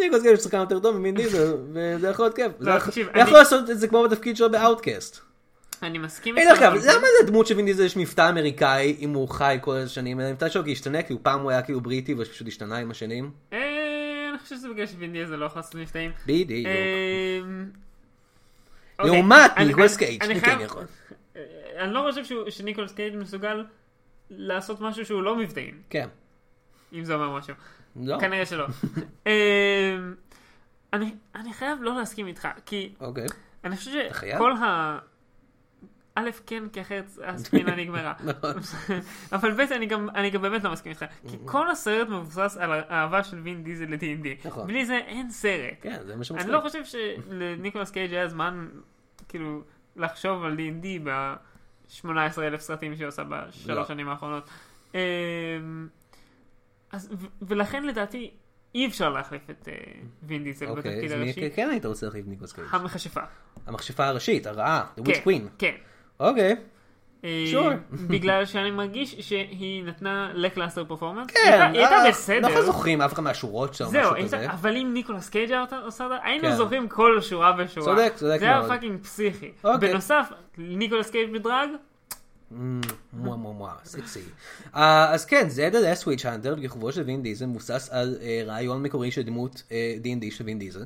[SPEAKER 1] ניקולס קייג' הוא שחקן יותר טוב ממין דיזל, וזה יכול להיות כיף. זה היה-
[SPEAKER 2] לא, תקשיב,
[SPEAKER 1] הוא היה
[SPEAKER 2] אני-
[SPEAKER 1] יכול לעשות את זה כמו בתפקיד שלו באאוטקאסט.
[SPEAKER 2] אני מסכים
[SPEAKER 1] אין אגב,
[SPEAKER 2] אבל-
[SPEAKER 1] למה לדמות של וין דיזל יש מבטא אמריקאי אם הוא חי כל השנים? אלא המבטא שלו כי השתנה, כי הוא פעם הוא היה כאילו בריטי ופשוט השתנה עם השנים.
[SPEAKER 2] אה, אני חושב שזה בגלל שווין דיאזל לא יכול לעשות מבטאים.
[SPEAKER 1] בדיוק.
[SPEAKER 2] אמ, אוקיי,
[SPEAKER 1] לעומת
[SPEAKER 2] אני-
[SPEAKER 1] ניקולס
[SPEAKER 2] אני-
[SPEAKER 1] קייג',
[SPEAKER 2] אני
[SPEAKER 1] הוא
[SPEAKER 2] חייב-
[SPEAKER 1] כן יכול.
[SPEAKER 2] אני לא חושב שהוא- שניקולס קייג' מסוגל לעשות משהו שהוא לא מבטאים,
[SPEAKER 1] כן.
[SPEAKER 2] אם זה אומר משהו.
[SPEAKER 1] לא?
[SPEAKER 2] כנראה שלא. אמ, אני- אני חייב לא להסכים איתך, כי
[SPEAKER 1] אוקיי.
[SPEAKER 2] אני חושב
[SPEAKER 1] חייב?
[SPEAKER 2] שכל ה... א', כן, כי אחרת הספינה נגמרה.
[SPEAKER 1] נכון.
[SPEAKER 2] אבל ב', אני גם, אני גם באמת לא מסכים איתך. כי כל הסרט מבוסס על האהבה של וין דיזל ל-D&D.
[SPEAKER 1] נכון.
[SPEAKER 2] בלי זה אין סרט.
[SPEAKER 1] כן, זה מה שמצחיק.
[SPEAKER 2] אני לא חושב שלניקולס קייג' היה זמן, כאילו, לחשוב על D&D ב... 18 אלף סרטים שהיא עושה בשלוש
[SPEAKER 3] לא.
[SPEAKER 2] שנים האחרונות. אמ, אז, ו- ולכן לדעתי אי אפשר להחליף את אה, וין דיזל
[SPEAKER 1] Mm. אוקיי,
[SPEAKER 2] בתפקיד
[SPEAKER 1] אז מי
[SPEAKER 2] הראשי.
[SPEAKER 1] כן היית רוצה להחליף ניקולס קייג'?
[SPEAKER 2] המכשפה.
[SPEAKER 1] המכשפה הראשית, הרעה, The Witch
[SPEAKER 2] כן,
[SPEAKER 1] Queen.
[SPEAKER 2] כן.
[SPEAKER 1] אוקיי.
[SPEAKER 2] אה,
[SPEAKER 1] Sure.
[SPEAKER 2] בגלל שאני מרגיש שהיא נתנה לקלאסטר פרפורמנס.
[SPEAKER 1] כן,
[SPEAKER 2] היא הייתה
[SPEAKER 1] אה,
[SPEAKER 2] בסדר.
[SPEAKER 1] אנחנו זוכרים אף אחד מהשורות שם,
[SPEAKER 2] זהו,
[SPEAKER 1] משהו
[SPEAKER 2] אין
[SPEAKER 1] כזה.
[SPEAKER 2] ספק, אבל אם ניקולס קייג' היה אותה- עושה את זה, היינו
[SPEAKER 1] כן.
[SPEAKER 2] זוכרים כל שורה ושורה.
[SPEAKER 1] צודק, צודק
[SPEAKER 2] זה היה
[SPEAKER 1] מאוד.
[SPEAKER 2] פאקינג פסיכי.
[SPEAKER 1] אוקיי.
[SPEAKER 2] בנוסף, ניקולס קייג' בדרג,
[SPEAKER 1] מואה מואה מואה, סקסי. אה, אז כן, זדה לס וויץ' האנדר, בכיכובו של וין דיזל, מבוסס על אה, רעיון מקורי של דמות אה, D&D של וין דיזל.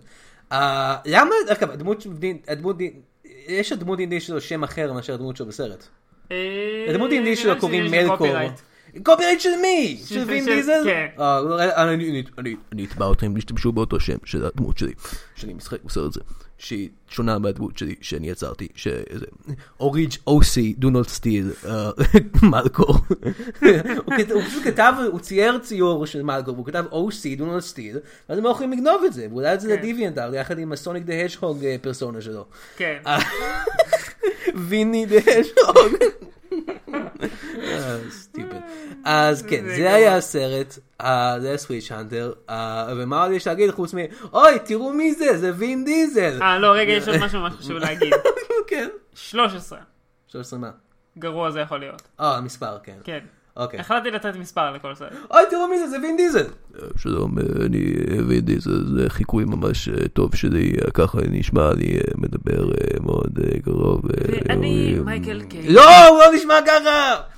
[SPEAKER 1] אה, למה, אגב, הדמות של וין- הדמות, D- יש לדמות D&D שלו שם אחר מאשר הדמות שלו בסרט.
[SPEAKER 2] אה,
[SPEAKER 1] לדמות
[SPEAKER 2] נראה
[SPEAKER 1] D&D
[SPEAKER 2] לי
[SPEAKER 1] שלו
[SPEAKER 2] שזה
[SPEAKER 1] קוראים
[SPEAKER 2] עניין של
[SPEAKER 1] מלקור.
[SPEAKER 2] copyright.
[SPEAKER 1] קופירייט של מי? של
[SPEAKER 2] של-
[SPEAKER 1] וין
[SPEAKER 2] של-
[SPEAKER 1] דיזל?
[SPEAKER 2] כן.
[SPEAKER 1] אה, לא, אני- אני- אני-
[SPEAKER 3] אני אתבע אותם אם ישתמשו באותו שם של הדמות שלי, שאני משחק בסרט זה, שהיא שונה מהדמות שלי שאני יצרתי, שזה אוריג' אוסי, do not steal, אה, מלקו.
[SPEAKER 1] הוא כת- הוא פשוט כתב, הוא צייר ציור של מלגו, והוא כתב OC, do not steal, ואז הם לא יכולים לגנוב את זה, והוא העלה את זה
[SPEAKER 2] כן.
[SPEAKER 1] לדיוויאנט ארט, יחד עם הסוניק דה השהוג אה, פרסונה שלו.
[SPEAKER 2] כן.
[SPEAKER 1] אה. ויני דה השהוג. סטיפד. אה, אז כן,
[SPEAKER 2] זה
[SPEAKER 1] זה
[SPEAKER 2] גרוע.
[SPEAKER 1] היה הסרט, אה, זה היה סוויץ' האנטר, אה, ומה עוד יש להגיד חוץ מ... אוי, תראו מי זה, זה וין דיזל.
[SPEAKER 2] אה, לא, רגע, יש עוד משהו ממש חשוב להגיד.
[SPEAKER 1] כן.
[SPEAKER 2] 13.
[SPEAKER 1] 13 מה?
[SPEAKER 2] גרוע זה יכול להיות.
[SPEAKER 1] אה, המספר, כן.
[SPEAKER 2] כן.
[SPEAKER 1] אוקיי.
[SPEAKER 2] החלטתי לתת מספר לכל סרט.
[SPEAKER 1] אוי, תראו מי זה, זה וין דיזל.
[SPEAKER 3] שלום, אה, אני אה, וידי, זה זה חיקוי ממש אה, טוב שלי, אה, ככה נשמע, אני אה, מדבר אה, מאוד אה, קרוב. אה,
[SPEAKER 2] אני
[SPEAKER 3] אה,
[SPEAKER 2] מייקל קיי.
[SPEAKER 1] לא, הוא לא נשמע ככה!